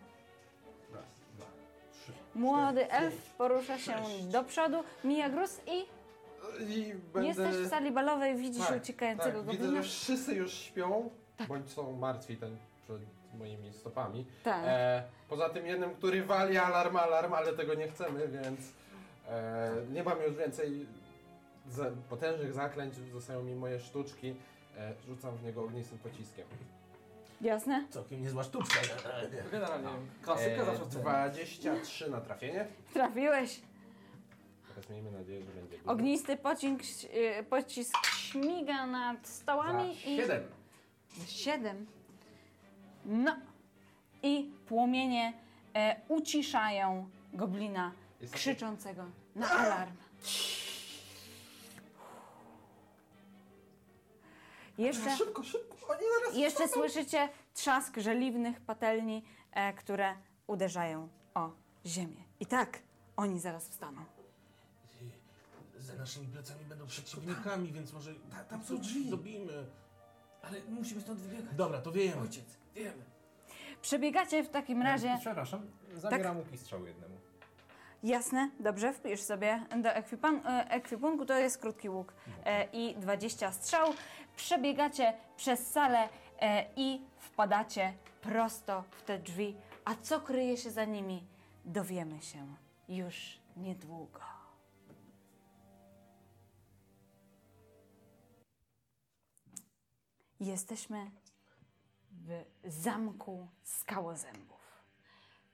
Raz, dwa, trzy.
Młody elf porusza się do przodu, mija gruz i
I będę...
jesteś w sali balowej, widzisz
Tak,
uciekającego
Tak, widzę,
goblina.
że wszyscy już śpią, bądź są martwi ten przed moimi stopami.
Tak.
E, poza tym jednym, który wali alarm, alarm, ale tego nie chcemy, więc e, nie mam już więcej za, potężnych zaklęć, zostają mi moje sztuczki. E, rzucam w niego ognistym pociskiem.
Jasne?
Całkiem niezła sztuczka.
Generalnie
E,
klasyka zawsze w cenie.
23 na trafienie.
Trafiłeś.
Teraz miejmy nadzieję, że będzie dużo.
Ognisty pocisk, e, pocisk śmiga nad stołami
Za
i...
Tak, Siedem.
Siedem. No. I płomienie e, uciszają goblina
Jest-
krzyczącego na alarm. Jeszcze,
Szybko, szybko, oni zaraz...
jeszcze słyszycie trzask żeliwnych patelni, e, które uderzają o ziemię. I tak oni zaraz wstaną.
Za naszymi plecami będą przeciwnikami, więc może tam są drzwi. Zrobimy.
Ale musimy stąd wybiegać.
Dobra, to wiemy.
Ojciec, wiemy.
Przebiegacie w takim razie.
Przepraszam, zabieram tak. łuki strzał jednemu.
Jasne, dobrze, wpisz sobie do ekwipan- e, ekwipunku, to jest krótki łuk e, i 20 strzał. Przebiegacie przez salę e, i wpadacie prosto w te drzwi, a co kryje się za nimi, dowiemy się już niedługo. Jesteśmy w zamku skałozębów.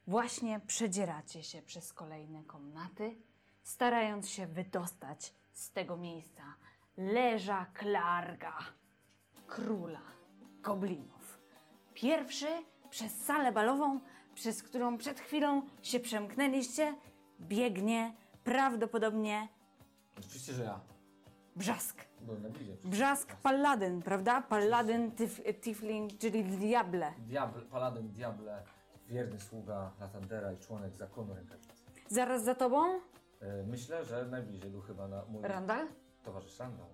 Właśnie przedzieracie się przez kolejne komnaty, starając się wydostać z tego miejsca leża Klarga, króla goblinów. Pierwszy przez salę balową, przez którą przed chwilą się przemknęliście, biegnie prawdopodobnie
Oczywiście, że ja.
brzask.
Byłem na blizie.
Brzask Palladyn, prawda? Palladyn tif Tifling, czyli diable.
Diable, paladyn, diable, wierny sługa Latandera i członek zakonu rękawicy.
Zaraz za tobą,
E, Myślę, że najbliżej był chyba na mój
Randall?
towarzysz Randall.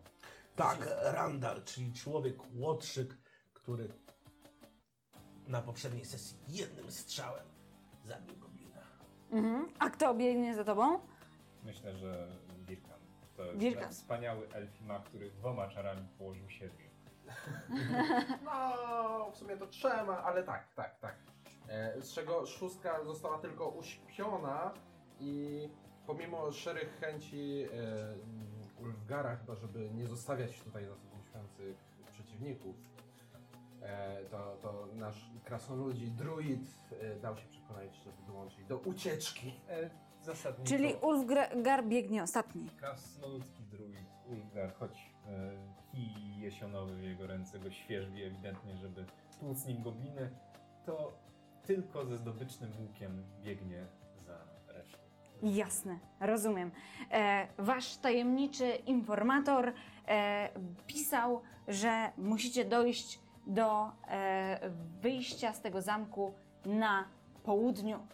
Tak, Randall, czyli człowiek łotrzyk, który na poprzedniej sesji jednym strzałem zabił goblina.
Mhm. A kto biegnie za tobą?
Myślę, że Wirkan. To jest
Wirkan.
tak
wspaniały elfima, który dwoma czarami położył siebie.
No, w sumie to trzema, ale tak, tak, tak. E, Z czego szóstka została tylko uśpiona i pomimo szczerych chęci e, mm, Ulfgara, chyba żeby nie zostawiać tutaj za sobą śpiących przeciwników, e, to, to nasz krasnoludzi druid e, dał się przekonać, żeby dołączyć do ucieczki.
Zasadniczo.
Czyli Ulfgar biegnie ostatni.
Krasnoludzki druid, Ulgar, choć e, kij jesionowy w jego ręce go świerzbi ewidentnie, żeby tłuc nim gobliny, to tylko ze zdobycznym łukiem biegnie za resztą.
Jasne, rozumiem. E, wasz tajemniczy informator e, pisał, że musicie dojść do e, wyjścia z tego zamku na południu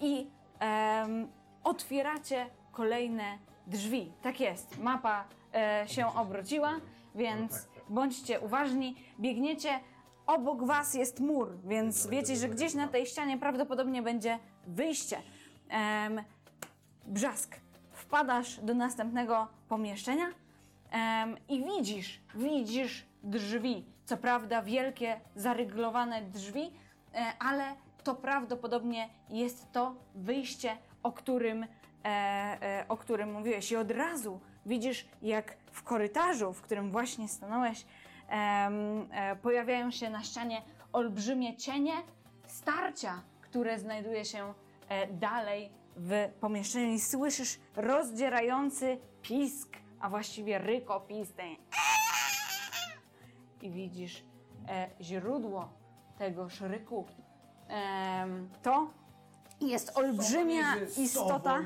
i em, otwieracie kolejne drzwi. Tak jest, mapa e, się obróciła, więc bądźcie uważni, biegniecie. Obok was jest mur, więc wiecie, że gdzieś na tej ścianie prawdopodobnie będzie wyjście. Em, brzask. Wpadasz do następnego pomieszczenia em, i widzisz, widzisz drzwi. Co prawda wielkie, zaryglowane drzwi, e, ale to prawdopodobnie jest to wyjście, o którym, e, e, o którym mówiłeś. I od razu widzisz, jak w korytarzu, w którym właśnie stanąłeś, em, e, pojawiają się na ścianie olbrzymie cienie starcia, które znajduje się e, dalej w pomieszczeniu i słyszysz rozdzierający pisk, a właściwie rykopis ten. I widzisz e, źródło tego szryku. Em, to jest olbrzymia istota,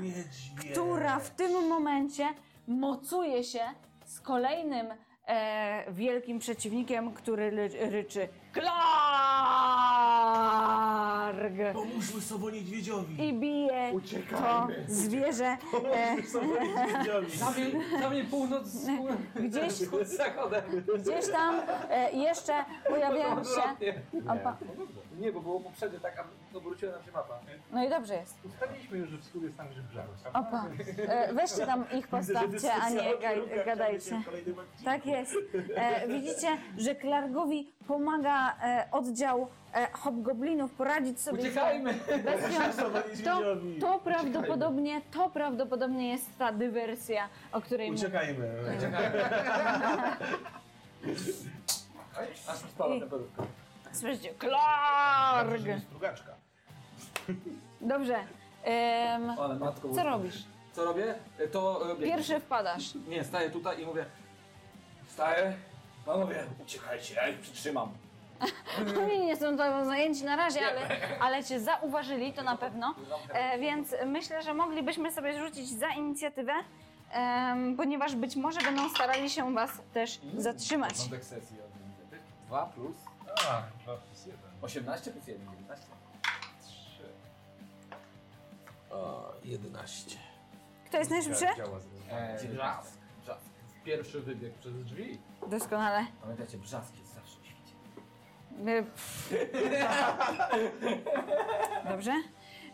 która w tym momencie mocuje się z kolejnym e, wielkim przeciwnikiem, który ry- ryczy Klarg!
Pomóżmy sobą niedźwiedziowi!
i bije to zwierzę e,
Sobą
(laughs)
niedźwiedziowi!
Zamień, zamień północ z
Gdzieś-
z zachodem.
gdzieś tam e, jeszcze pojawiają się.
Odwrotnie.
Opa.
Nie, bo było poprzednio tak, a obróciła nam się mapa.
No i dobrze jest.
Ustaliliśmy już, że wschód jest tam, gdzie brzegu. tak?
Opa. E, weźcie tam ich postawcie, a nie ga- gadajcie. Tak jest. E, widzicie, że Klargowi pomaga e, oddział e, hobgoblinów poradzić sobie
Uciekajmy!
z bestią.
Sobą
To,
niedźwiedziowi!
to prawdopodobnie, to prawdopodobnie jest ta dywersja, o której mówię.
Uciekajmy!
Aż mi spadła temperówka.
Słyszycie, Klarg!
Strugaczka.
Dobrze. Em,
Ale matko...
co robisz?
Co robię? E, To... e, biegnę.
Pierwszy
(laughs)
wpadasz.
Nie, staję tutaj i mówię... Staję. Panowie, uciekajcie, ja ich przytrzymam.
Oni nie są tobą zajęci na razie, ale, ale cię zauważyli, to na pewno. E, więc myślę, że moglibyśmy sobie rzucić za inicjatywę, em, ponieważ być może będą starali się was też zatrzymać.
Początek sesji od inicjatyw. 2 plus
A, 2 plus 1.
18 plus 1, 19.
E,
O, 11.
Kto jest najszybszy?
Działa z
E,
Brzask.
brzask. Pierwszy wybieg przez drzwi.
Doskonale.
Pamiętajcie, brzask jest zawsze w świcie.
E, pff. Dobrze.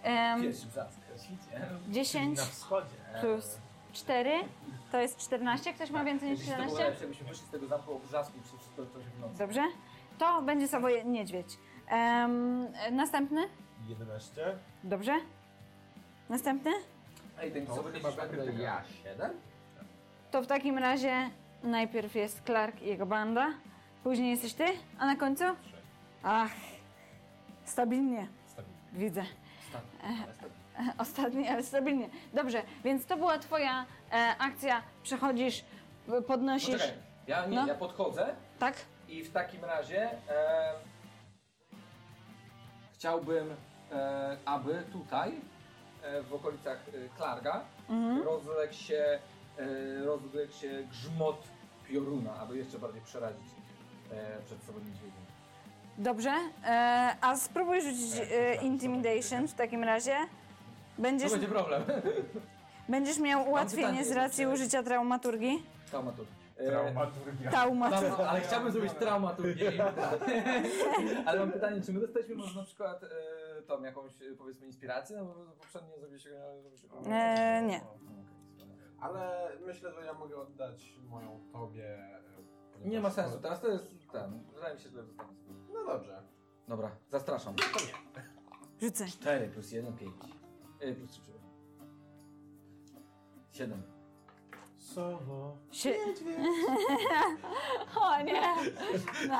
Em,
Pierwszy brzask. W świcie.
10
wschodzie.
plus 4 to jest 14. Ktoś ma więcej niż
Jeśli to było
14?
lepsze, byśmy wyszli z tego zamku o brzasku i wszystko to się w nocy.
Dobrze. To będzie sobie niedźwiedź. Em, następny?
11.
Dobrze. Następny?
Ej, ten
No, To chyba będę ja. Siedem?
To w takim razie najpierw jest Clark i jego banda, później jesteś ty, a na końcu? Ach, stabilnie. Widzę. E, (laughs) Ostatni, ale stabilnie. Dobrze, więc to była twoja e, akcja. Przechodzisz, w- podnosisz.
Poczekaj, ja nie,
No.
ja podchodzę
Tak?
i w takim razie e, chciałbym, e, aby tutaj e, w okolicach e, Klarga
Mhm.
rozległ się, e, rozległ się grzmot pioruna, aby jeszcze bardziej przerazić e, przed sobą niedźwiedziem.
Dobrze. E, a spróbuj
Tak,
rzucić e, Intimidation w takim razie.
To
Będziesz,
będzie problem. (laughs)
będziesz miał ułatwienie
pytanie
z racji
jeszcze.
użycia traumaturgii.
Traumatur. E,
Traumaturgia.
Traumaturgii.
Mam, No, ale chciałbym zrobić traumaturgię.
(laughs)
ale mam pytanie, czy my dostaliśmy może na przykład e, tam jakąś e, powiedzmy inspirację? No bo poprzednio zrobiliście się.
E, nie.
Ale myślę, że ja mogę oddać moją tobie, e,
Nie ma sensu, teraz to jest ten. Wydaje mi się, że lepiej zostawić.
No dobrze.
Dobra, zastraszam.
Rzucę.
4 plus 1, 5. Yy, plus 3, przepraszam. 7.
Sowo.
Sie... (laughs) o nie! No,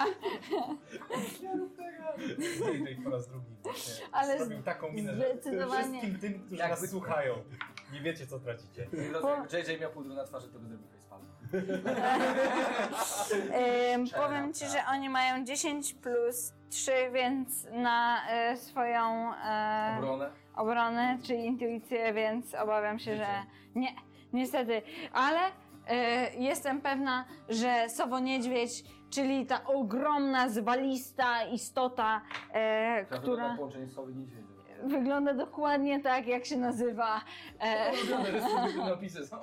Zejdę po raz drugi. właśnie.
Ale
Zrobił taką minę, że
zdecydowanie.
wszystkim tym, którzy
Jakby-
nas słuchają, nie wiecie co tracicie.
JJ miał pudru na twarzy, to by zrobił facepalm.
Ym, powiem ci, że oni mają 10 plus 3, więc na y, swoją e,
Obronę.
obronę czy intuicję, więc obawiam się, że nie, niestety. Ale y, jestem pewna, że sowo-niedźwiedź, czyli ta ogromna, zwalista istota, e,
Która... To
która
na tak połączenie sowy i niedźwiedzia.
wygląda dokładnie tak, jak się nazywa. E, (laughs)
Ulubione, że z tym napisy są.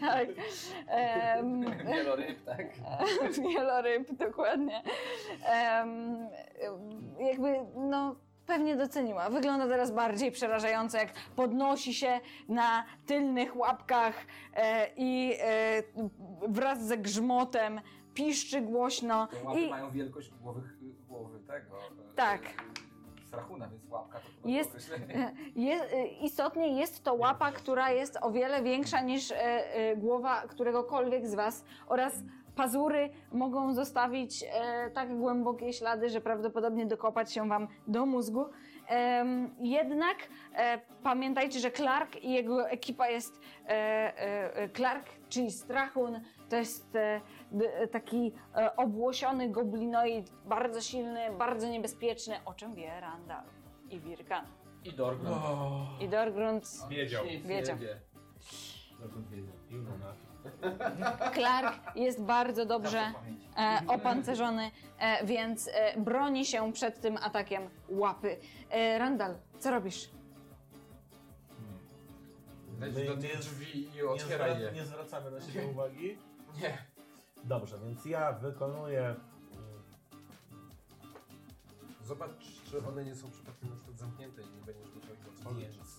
tak, em,
(laughs) Wieloryb, tak.
(laughs) Wieloryb, dokładnie. Em, jakby, no, pewnie doceniła. Wygląda teraz bardziej przerażająco, jak podnosi się na tylnych łapkach e, i e, wraz ze grzmotem piszczy głośno.
Te łapy
I
mają wielkość głowy, głowy tego. e,
Tak.
e, Strachuna, więc łapka to chyba
Jest-
jest... określenie.
je, e, istotnie jest to łapa, która jest o wiele większa niż e, e, głowa któregokolwiek z Was oraz pazury mogą zostawić e, tak głębokie ślady, że prawdopodobnie dokopać się Wam do mózgu. Em, jednak e, pamiętajcie, że Clark i jego ekipa jest e, e, e, Clark, czyli Strachun, to jest e, d- e, taki e, obłosiony goblinoid, bardzo silny, bardzo niebezpieczny, o czym wie Randall i Wirkan.
I Dorgrun.
I Dorgrund,
Wiedział.
Wiedział.
Dorgrun wiedział.
Clark jest bardzo dobrze
Zawsze w pamięci.
e, opancerzony, e, więc e, broni się przed tym atakiem łapy. E, Randall, co robisz?
Leć
My
do
nie-
tych drzwi i
Nie, zwra-
otwieraj je.
nie zwracamy na siebie uwagi.
Nie.
Dobrze, więc ja wykonuję. mm,
Zobacz, czy one nie są przypadkiem na przykład zamknięte i nie będziesz musiał ich otworzyć.
Więc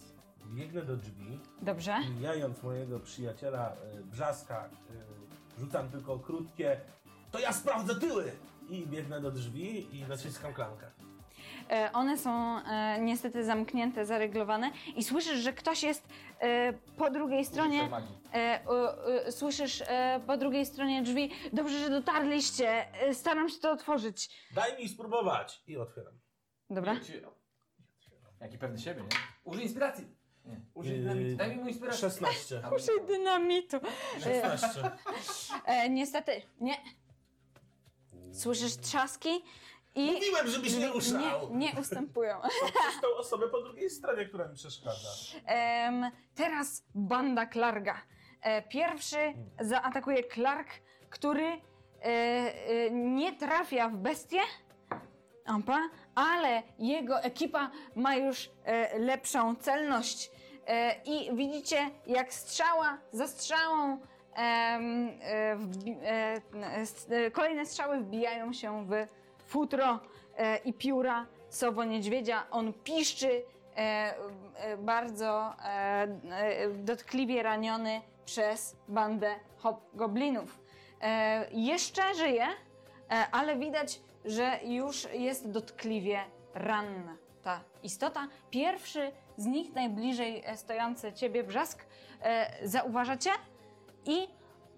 biegnę do drzwi,
Dobrze?
mijając mojego przyjaciela y, Brzaska, y, rzucam tylko krótkie to ja sprawdzę tyły! I biegnę do drzwi i naciskam klamkę.
E, one są e, niestety zamknięte, zaryglowane i słyszysz, że ktoś jest e, po drugiej stronie.
Ulice magii.
E, e, e, słyszysz e, po drugiej stronie drzwi. Dobrze, że dotarliście. E, staram się to otworzyć.
Daj mi spróbować! I otwieram.
Dobra?
Jaki pewny siebie, nie? Użyj inspiracji! Nie.
Yy,
Użyj dynamitu. Daj mi mu inspirację.
16.
Tam-
Użyj dynamitu.
16.
(laughs) E, niestety, nie. Słyszysz trzaski i
Mówiłem, żebyś nie ruszał!
nie, nie ustępują.
To przecież tą osobę po drugiej stronie, która mi przeszkadza.
Em, teraz banda Clarga. E, pierwszy zaatakuje Clark, który e, e, nie trafia w bestię, Ampa, ale jego ekipa ma już e, lepszą celność. E, I widzicie, jak strzała za strzałą em, e, wbi- e, n- e, s- e, kolejne strzały wbijają się w futro e, i pióra sowo-niedźwiedzia. On piszczy, e, e, bardzo e, e, dotkliwie raniony przez bandę hobgoblinów. E, jeszcze żyje, e, ale widać, że już jest dotkliwie ranna ta istota. Pierwszy z nich, najbliżej e, stojący ciebie brzask, e, zauważacie i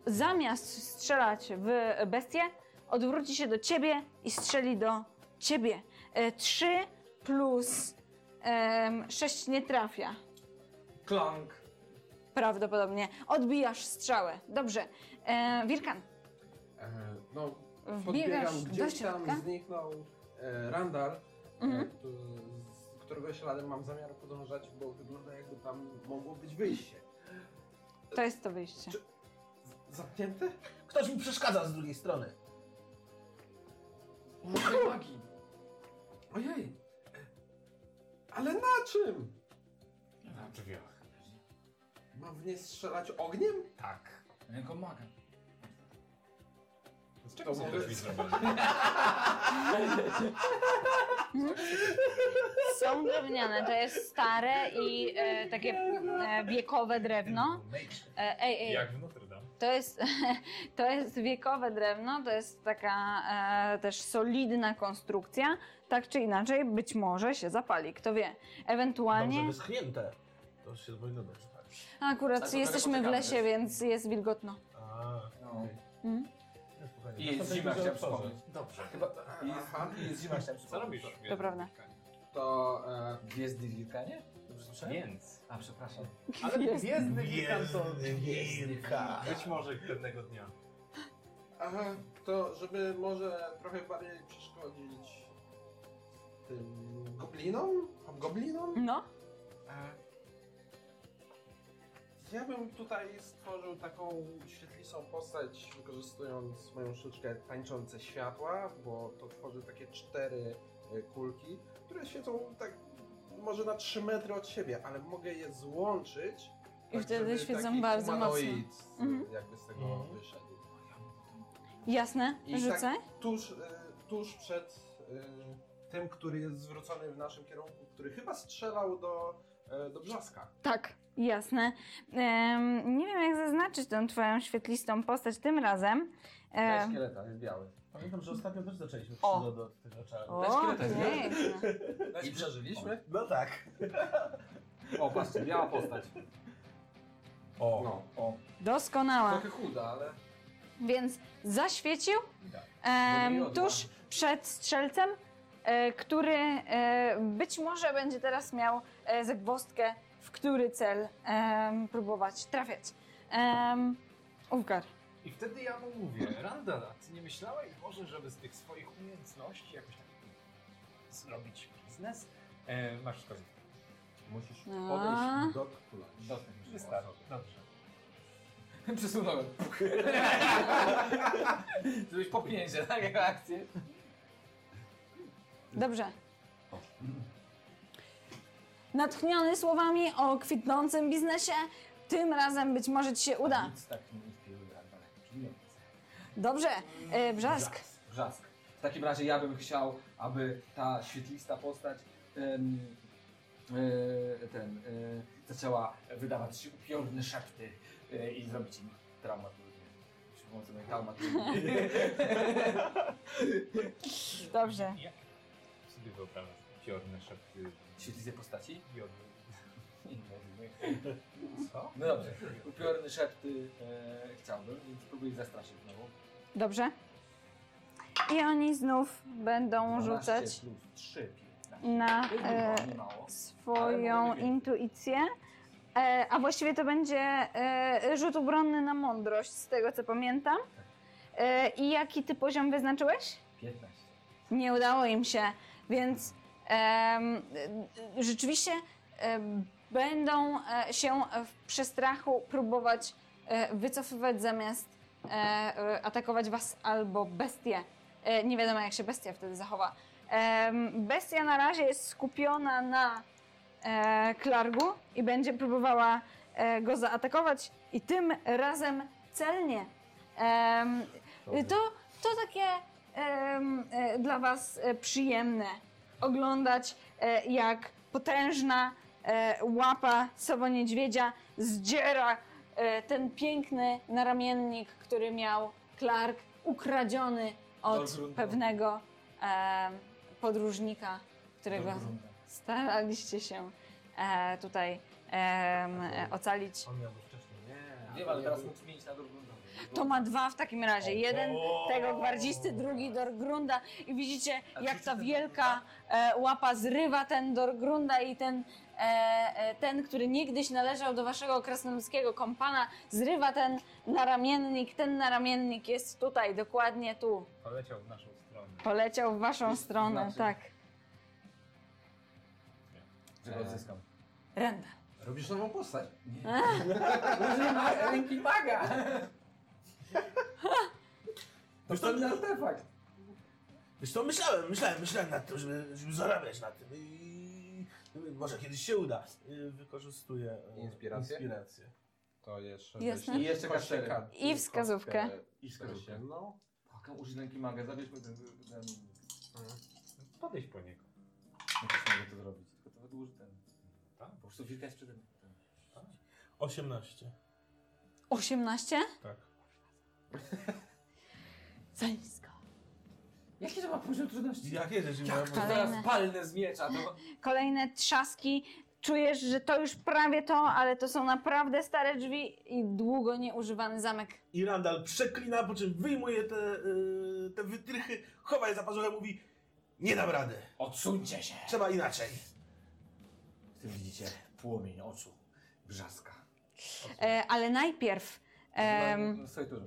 zamiast strzelać w bestię, odwróci się do ciebie i strzeli do ciebie. E, 3 plus Em, sześć nie trafia.
Klank.
Prawdopodobnie. Odbijasz strzałę. Dobrze. E, Wirkan,
E, no,
wbiegasz
podbiegam
do
gdzieś
środka.
tam, zniknął e, Randall,
Mhm.
e, który, z którego śladem mam zamiar podążać, bo wygląda jakby tam mogło być wyjście.
To jest to wyjście.
Zamknięte?
Ktoś mi przeszkadza z drugiej strony.
Użyj magii.
Ojej! Ale na czym?
Na drzwiach.
Mam w nie strzelać ogniem?
Tak.
Ręką maga.
Z czego
Co drzwi zrobione?
Są drewniane. To jest stare i e, takie e, wiekowe drewno. E, ej, ej.
Jak w Notre Dame.
To jest, (laughs) to jest wiekowe drewno, to jest taka e, też solidna konstrukcja. Tak czy inaczej, być może się zapali, kto wie.
Dobrze
Ewentualnie,
wyschnięte. To się powinno tak. dobrze palić.
akurat
Dlatego
jesteśmy w
poczekamy.
lesie, więc jest wilgotno.
A,
No.
Mhm.
no spokojnie.
I jest
Następnego
zima,
dnia
chciałem
otworzę.
przypomnieć.
Dobrze.
Chyba i jest,
Aha.
i jest zima, chciałem
Co
przypomnieć.
robisz?
To prawda.
To e,
Gwiezdny Wilkanie? Dobrze słyszałem?
Więc.
A, przepraszam.
Ale gwiezdny wilkan to...
Gwiezdny wilka.
Być może pewnego dnia.
Aha, to żeby może trochę bardziej przeszkodzić tym goblinom? Goblinom?
No,
E, Ja bym tutaj stworzył taką świetlistą postać, wykorzystując moją sztuczkę tańczące światła, bo to tworzy takie cztery e, kulki, które siedzą tak może na 3 metry od siebie, ale mogę je złączyć. tak
I wtedy
żeby
świecą
taki
bardzo
humanoid, e,
Mhm.
jakby z tego
Mhm.
wyszedł.
jasne,
I tak-
rzucę.
tuż, y, tuż przed y, tym, który jest zwrócony w naszym kierunku, który chyba strzelał do, y, do Brzaska.
Tak, jasne. Em, nie wiem, jak zaznaczyć tą twoją świetlistą postać tym razem.
Eee.
Em,
szkieleta, jest biały.
Pamiętam, że ostatnio też zaczęliśmy
O.
przygodę od tego czaru.
o,
szkieleta, nie?
piękne.
I przeżyliśmy?
No tak.
O, patrzcie, biała postać.
O.
No,
Doskonała.
trochę chuda, ale...
Więc zaświecił
Tak.
em,
Dobry odłam.
tuż przed strzelcem, e, który e, być może będzie teraz miał e, zagwozdkę, w który cel em, próbować trafiać. Um, Uwgar.
I wtedy ja mu mówię, Randall, a ty nie myślałeś może, żeby z tych swoich umiejętności jakoś tak zrobić biznes? E, masz szkodę.
Musisz
No.
podejść do dotknąć.
Dotknąć.
Wystarczy. Dobrze.
(laughs) Przesunąłem. Żebyś popięcie, tak jak akcję.
Dobrze. Natchniony słowami o kwitnącym biznesie, tym razem być może ci się uda.
Nic tak nie wpiły, Randall, jak pieniądze.
Dobrze, e, Brzask.
Wrzask. W takim razie ja bym chciał, aby ta świetlista postać em, e, ten, e, zaczęła wydawać się upiorne szepty e, i zrobić im traumaturgię. Przy pomocy mojej (laughs) traumaturgii.
Dobrze.
Jak sobie wyobrażasz piorne szepty
Świetlistej postaci?
piorny? (laughs) Co?
No dobrze, upiorne szepty e, chciałbym, więc próbuję ich zastraszyć znowu.
Dobrze. I oni znów będą
12
rzucać
plus tak. 3, 15.
na
To jest
e,
dużo, nie mało.
swoją intuicję. E, a właściwie to będzie e, rzut obronny na mądrość, z tego co pamiętam. E, I jaki ty poziom wyznaczyłeś?
15.
nie udało im się, więc em, y, y, rzeczywiście em, będą e, się w przestrachu próbować e, wycofywać zamiast e, e, atakować was albo bestie. E, nie wiadomo, jak się bestia wtedy zachowa. Em, bestia na razie jest skupiona na e, Klargu i będzie próbowała e, go zaatakować i tym razem celnie. Em, to, to takie em, e, dla Was e, przyjemne oglądać, e, jak potężna e, łapa sowoniedźwiedzia zdziera e, ten piękny naramiennik, który miał Clark ukradziony od
Dolgrunda.
pewnego em, podróżnika, którego staraliście się e, tutaj em, e, ocalić.
On miał go wcześniej. Nie.
Wiem, ale teraz mógł zmienić na drugą nogę.
To ma dwa w takim razie. Jeden
O!
tego gwardzisty, drugi Dorgrunda. I widzicie,
A
jak
czy
ta
ten-
wielka e, łapa zrywa ten Dorgrunda i ten, e, e, ten, który niegdyś należał do waszego krasnoludzkiego kompana, zrywa ten naramiennik. Ten naramiennik jest tutaj, dokładnie tu.
Poleciał w naszą stronę.
Poleciał w waszą
Jest
stronę,
znaczy.
tak.
Żeby odzyskam.
Renda.
Robisz nową postać.
Używa ręki maga! To
Wiesz co,
ten artefakt.
Wiesz co, myślałem, myślałem, myślałem nad tym, żeby, żeby zarabiać na tym i i może kiedyś się uda. Y, Wykorzystuję e,
Inspirację?
inspirację.
To jeszcze...
Jasne.
weź-
I jeszcze
kostkę
kaszery.
kart-
I wskazówkę.
kostkę No.
I wskazówkę.
kasienną.
Tak, użyj ręki maga, zabierzmy ten... ten...
Podejdź po niego.
No to mogę to zrobić. Tylko to wydłuży ten...
Tak?
Po prostu wilka jest przede mną.
18.
18?
Tak.
Za nisko.
Jaki to ma poziom trudności?
Jakie rzeczy
Jak to
mają?
Kolejne.
teraz palne z miecza? To...
Kolejne trzaski. Czujesz, że to już prawie to, ale to są naprawdę stare drzwi i długo nieużywany zamek.
I Randall przeklina, po czym wyjmuje te, y, te wytrychy, chowa je za pazuchę, mówi nie dam rady,
Odsuńcie się!
trzeba inaczej.
W tym widzicie płomień oczu. Brzaska.
E, ale najpierw
No,
em,
Stoi dużo.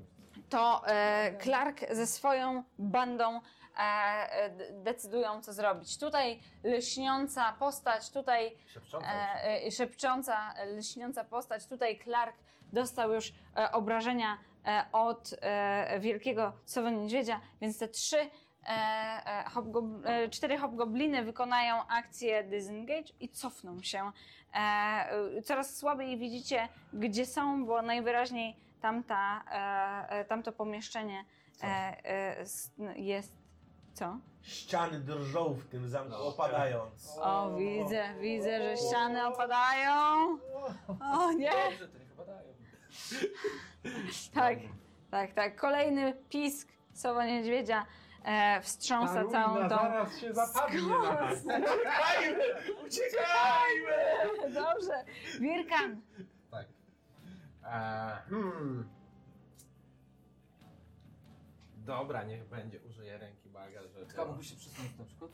to e, Clark ze swoją bandą e, e, d- decydują, co zrobić. Tutaj lśniąca postać, tutaj
Szepcząca
e, e, szepcząca, e, lśniąca postać. Tutaj Clark dostał już e, obrażenia e, od e, wielkiego sowy niedźwiedzia, więc te trzy, e, e, hobgob- e, cztery hobgobliny wykonają akcję disengage i cofną się. E, e, coraz słabiej widzicie, gdzie są, bo najwyraźniej tamta, e, e, tamto pomieszczenie e, e, s- n- jest. Co?
Ściany drżą w tym zamku,
No.
opadając.
O, widzę, widzę, że ściany opadają. O nie!
Dobrze, to niech opadają.
Tak, tak, tak. Kolejny pisk sowa niedźwiedzia e, wstrząsa całą tą.
zaraz się zapadnie na nas.
Uciekajmy!
(laughs)
Uciekajmy!
Dobrze. Wirkan,
Tak. Eee, hmm. Dobra, niech będzie. Użyję ręki maga, żeby...
Tylko mógłbyś się przesunąć na przykład?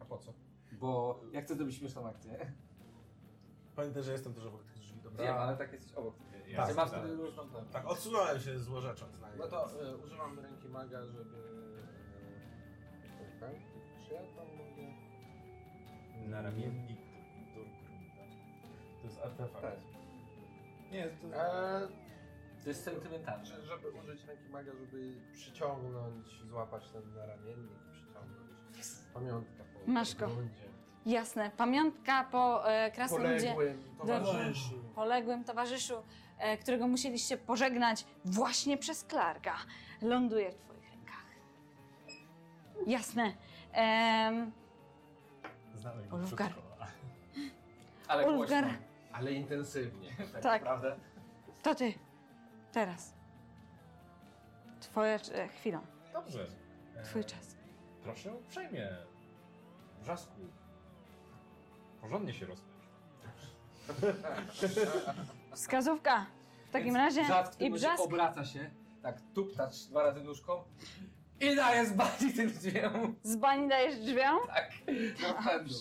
A po co?
Bo ja chcę zrobić śmieszną akcję.
Pamiętaj, że jestem też obok tych drzwi, dobra?
Wiem, ale tak jesteś obok.
Tak,
Ja mam
tak.
wtedy różną ten.
Tak, odsunąłem się złorzecząc na
No
niego.
to e, używam ręki maga, żeby... e, czekaj, Czy ja tam mogę...
Na ramiennik.
To jest artefakt.
Tak.
Nie, to...
Eee,
To jest sentymentalne.
Że- Znaczy, Żeby użyć ręki maga, żeby przyciągnąć, złapać ten na ramiennik, przyciągnąć. Pamiątka. Po
Masz go.
Rundzie.
jasne. Pamiątka po e, krasnoludzie,
Poległym towarzyszu.
poległym towarzyszu, e, którego musieliście pożegnać właśnie przez Klarka, ląduje w Twoich rękach. Jasne. Em,
Znałem
Olufkar.
wszystko.
Ale głośno.
Ulgar,
Ale intensywnie.
Tak.
Naprawdę?
to ty. Teraz. Twoja e, chwila,
Dobrze. E,
twój czas.
Proszę uprzejmie. Wrzasku. Porządnie się rozpędź.
Wskazówka. W takim
Więc
razie
Brzast w tym
i
momencie
brzask.
obraca się, tak tuptacz dwa razy nóżką i daje z bani tym drzwiom.
Z bani dajesz drzwiom?
Tak, na pewno.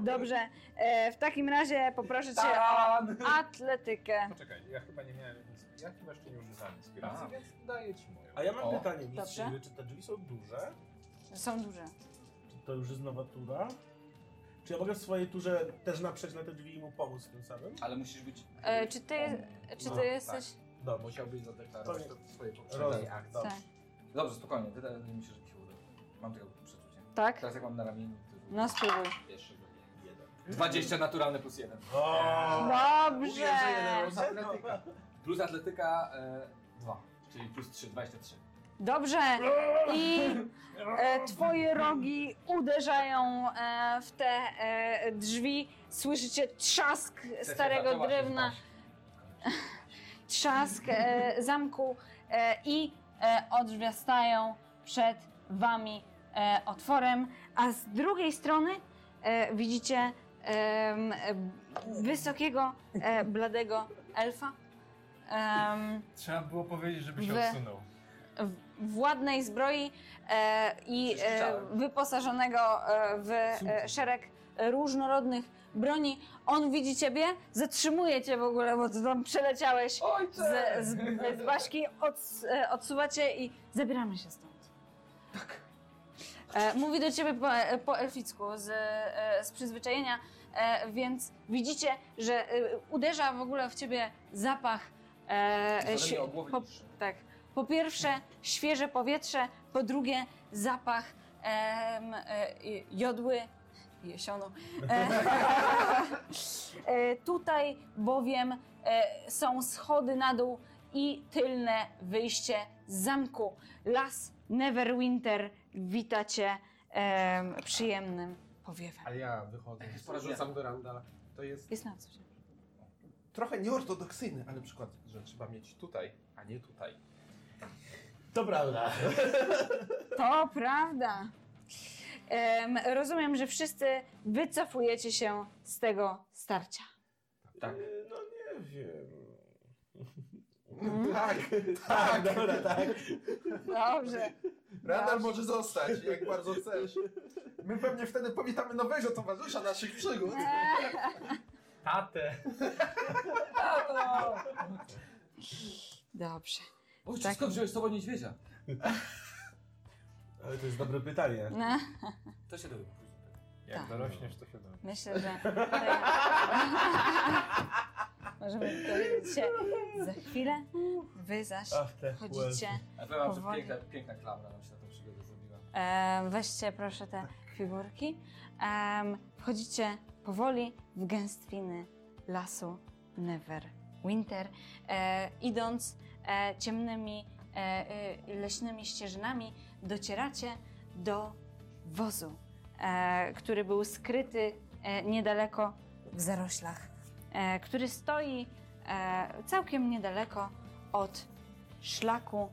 Dobrze. E, w takim razie poproszę cię
Tak.
o
Taran!
atletykę.
Poczekaj, ja chyba nie miałem... ins- Ja chyba jeszcze nie używałem inspiracji,
A.
więc daję ci moją.
A ja mam
O.
pytanie,
Dobrze.
mistrzyły, czy te drzwi są duże?
Są duże.
Czy to już jest nowa tura? Czy ja mogę w swojej turze też naprzeć na te drzwi i mu pomóc tym samym?
Ale musisz być... tak.
E, czy ty, czy ty
No,
jesteś...
Dobrze.
Musiałbyś zadeklarować
To
to w swojej poprzedniej
Rozumiem,
akcji.
dobrze.
Tak.
Dobrze, spokojnie, wydaje mi się, że mi się uda. Mam tego przeczucie.
Tak?
Teraz jak mam na ramieniu, to już
No spróbuj.
pierwszy go nie. 20 naturalne plus jeden.
O!
Dobrze.
E, Plus atletyka 2, czyli plus 3, 23.
Dobrze. I e, twoje rogi uderzają e, w te e, drzwi. Słyszycie trzask starego drewna. trzask e, zamku e, i e, odwrastają przed wami e, otworem, a z drugiej strony e, widzicie em, e, b- wysokiego, e, bladego elfa em,
Trzeba było powiedzieć, żeby się
Wy-
odsunął.
w- w ładnej zbroi e, i e, wyposażonego e, w e, szereg różnorodnych broni. On widzi ciebie, zatrzymuje cię w ogóle, bo ty tam przeleciałeś
Ojcze!
z, z, z Baśki ods, e, odsuwacie i zabieramy się stąd. Tak. E, mówi do ciebie po, e, po elficku z, e, z przyzwyczajenia, e, więc widzicie, że e, uderza w ogóle w ciebie zapach. E,
Zaleje
si-
o głowę
po,
niższe.
tak. Po pierwsze świeże powietrze, po drugie zapach em, e, jodły jesioną. E, e, tutaj bowiem e, są schody na dół i tylne wyjście z zamku. Las Neverwinter wita cię em, przyjemnym powiewem.
A ja wychodzę, porzucam do Randala. To jest
Jest na coś.
trochę nieortodoksyjny, ale przykład, że trzeba mieć tutaj, a nie tutaj.
To prawda.
To prawda. Em, rozumiem, że wszyscy wycofujecie się z tego starcia.
Tak. No nie wiem.
(laughs) Tak,
Tak, dobra, tak.
Dobrze.
radar może zostać, jak bardzo chcesz. My pewnie wtedy powitamy nowego towarzysza naszych przygód.
E,
Tatę.
Dobrze.
Ojcze,
Tak.
skąd wziąłeś z tobą niedźwiedzia?
Ale to jest dobre pytanie.
No,
To się dowiem później.
Jak
Tak.
dorośniesz, to się da.
myślę, że. (laughs) Możemy dowiedzieć się za chwilę. Wy zaś
Ach, te
chodzicie.
Ja powiem wam, że
Powoli.
piękna, piękna klamra nam się na tą przygodę zrobiła.
Em, weźcie proszę te figurki. Em, wchodzicie powoli w gęstwiny lasu Neverwinter, E, idąc e, ciemnymi e, e, leśnymi ścieżynami, docieracie do wozu, e, który był skryty e, niedaleko w zaroślach, e, który stoi e, całkiem niedaleko od szlaku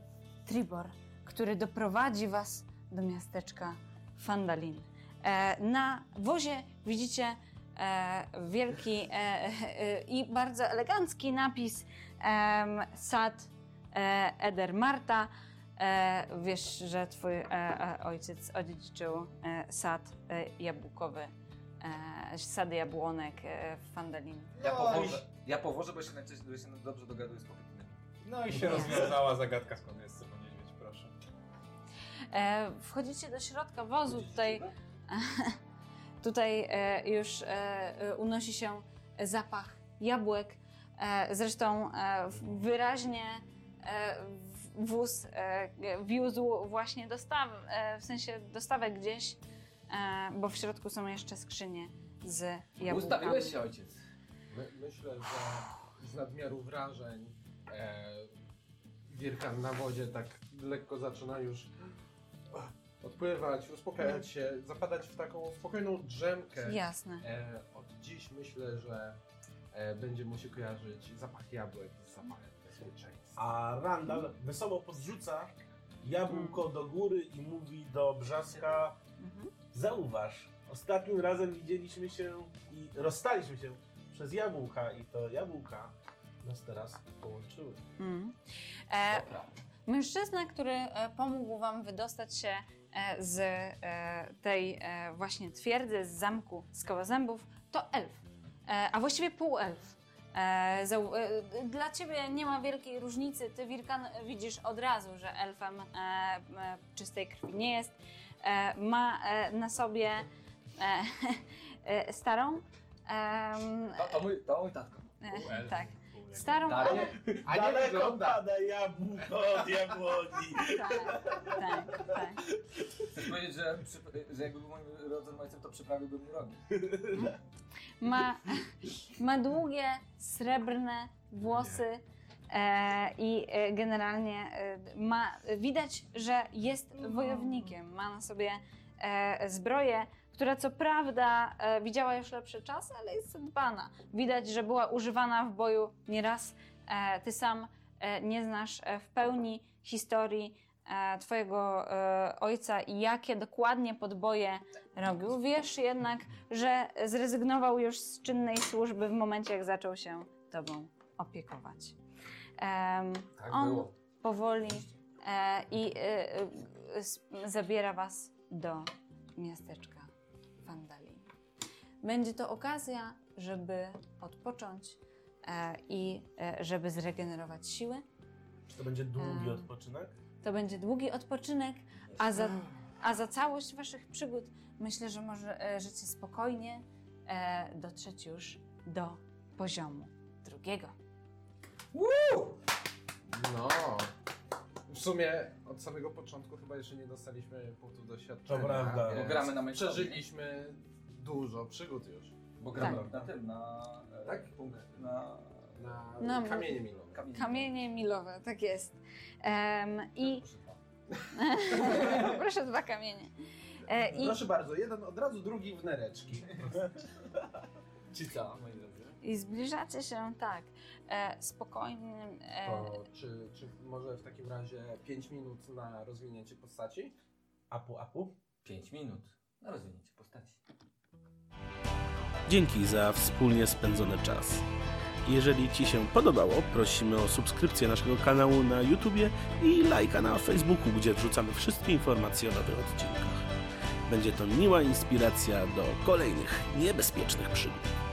Tribor, który doprowadzi was do miasteczka Fandalin. E, na wozie widzicie e, wielki e, e, e, i bardzo elegancki napis em, Sad e, Eder Marta. E, wiesz, że twój e, e, ojciec odziedziczył e, sad e, jabłkowy, e, sad jabłonek e, w Fandalin.
Ja
No i-
powożę, ja powożę, bo się najczęściej bo się dobrze dogaduję z kopytnymi.
No i się rozwiązała zagadka, skąd jest sobą niedźwiedź, proszę.
E, wchodzicie do środka wozu, tutaj, (laughs) tutaj e, już e, e, unosi się zapach jabłek. E, zresztą e, w- wyraźnie e, w- wóz e, wiózł właśnie dostaw, e, w sensie dostawę gdzieś, e, bo w środku są jeszcze skrzynie z jabłkami.
Ustawiłeś się, ojciec.
My, myślę, że z nadmiaru wrażeń e, Gierkan na wodzie tak lekko zaczyna już e, odpływać, uspokajać się, zapadać w taką spokojną drzemkę.
Jasne.
E, od dziś myślę, że e, będzie mu się kojarzyć zapach jabłek z zapachem bezpieczeństwa.
A Randall wesoło podrzuca jabłko do góry i mówi do Brzaska
Mhm.
Zauważ, ostatnim razem widzieliśmy się i rozstaliśmy się przez jabłka i to jabłka nas teraz połączyły.
Mm. E, mężczyzna, który e, pomógł wam wydostać się e, z e, tej e, właśnie twierdzy, z zamku z koła zębów, to elf, e, a właściwie półelf. E, zau- e, dla ciebie nie ma wielkiej różnicy, ty Wirkan widzisz od razu, że elfem e, e, czystej krwi nie jest. E, ma e, na sobie e, (laughs) e, starą, em,
To, to, mój, to mój tatko.
e, tak, starą,
Dalej.
ale
A nie wygląda!
pada jabłko od jabłoni.
tak, tak, tak.
Chcesz powiedzieć, że, przy- że jakby był moim rodzonym ojcem, to przyprawiłbym mu rogi.
ma, (laughs) ma długie, srebrne włosy e, i e, generalnie e, ma, widać, że jest wojownikiem. Ma na sobie e, zbroję, która co prawda e, widziała już lepsze czasy, ale jest dbana. Widać, że była używana w boju nieraz. E, ty sam e, nie znasz e, w pełni historii e, twojego e, ojca i jakie dokładnie podboje robił. Wiesz jednak, że zrezygnował już z czynnej służby w momencie, jak zaczął się tobą opiekować. Em,
Tak
on
było.
powoli e, i e, e, s- zabiera was do miasteczka Wandalin. Będzie to okazja, żeby odpocząć e, i e, żeby zregenerować siły.
Czy to będzie długi
Em.
odpoczynek?
To będzie długi odpoczynek, a za, a za całość Waszych przygód myślę, że możecie spokojnie e, dotrzeć już do poziomu drugiego.
No! W sumie od samego początku chyba jeszcze nie dostaliśmy punktu doświadczenia.
To prawda.
więc
Bo gramy na meczowi.
Przeżyliśmy dużo przygód już.
Bo gramy
Tak.
na tym, na... e,
Tak?
Punkt, na...
Na
No,
kamienie miną.
Kamienie.
Kamienie milowe, tak jest. Em, I
Proszę, dwa.
(laughs) proszę dwa kamienie. E, i,
Proszę bardzo, jeden od razu, drugi w nereczki.
(laughs) Ci co, moi drodzy?
I zbliżacie się tak, e, spokojnym. E,
To czy, czy może w takim razie 5 minut na rozwinięcie postaci?
Apu, apu.
5 minut na rozwinięcie postaci.
Dzięki za wspólnie spędzony czas. Jeżeli Ci się podobało, prosimy o subskrypcję naszego kanału na YouTubie i lajka na Facebooku, gdzie wrzucamy wszystkie informacje o nowych odcinkach. Będzie to miła inspiracja do kolejnych niebezpiecznych przygód.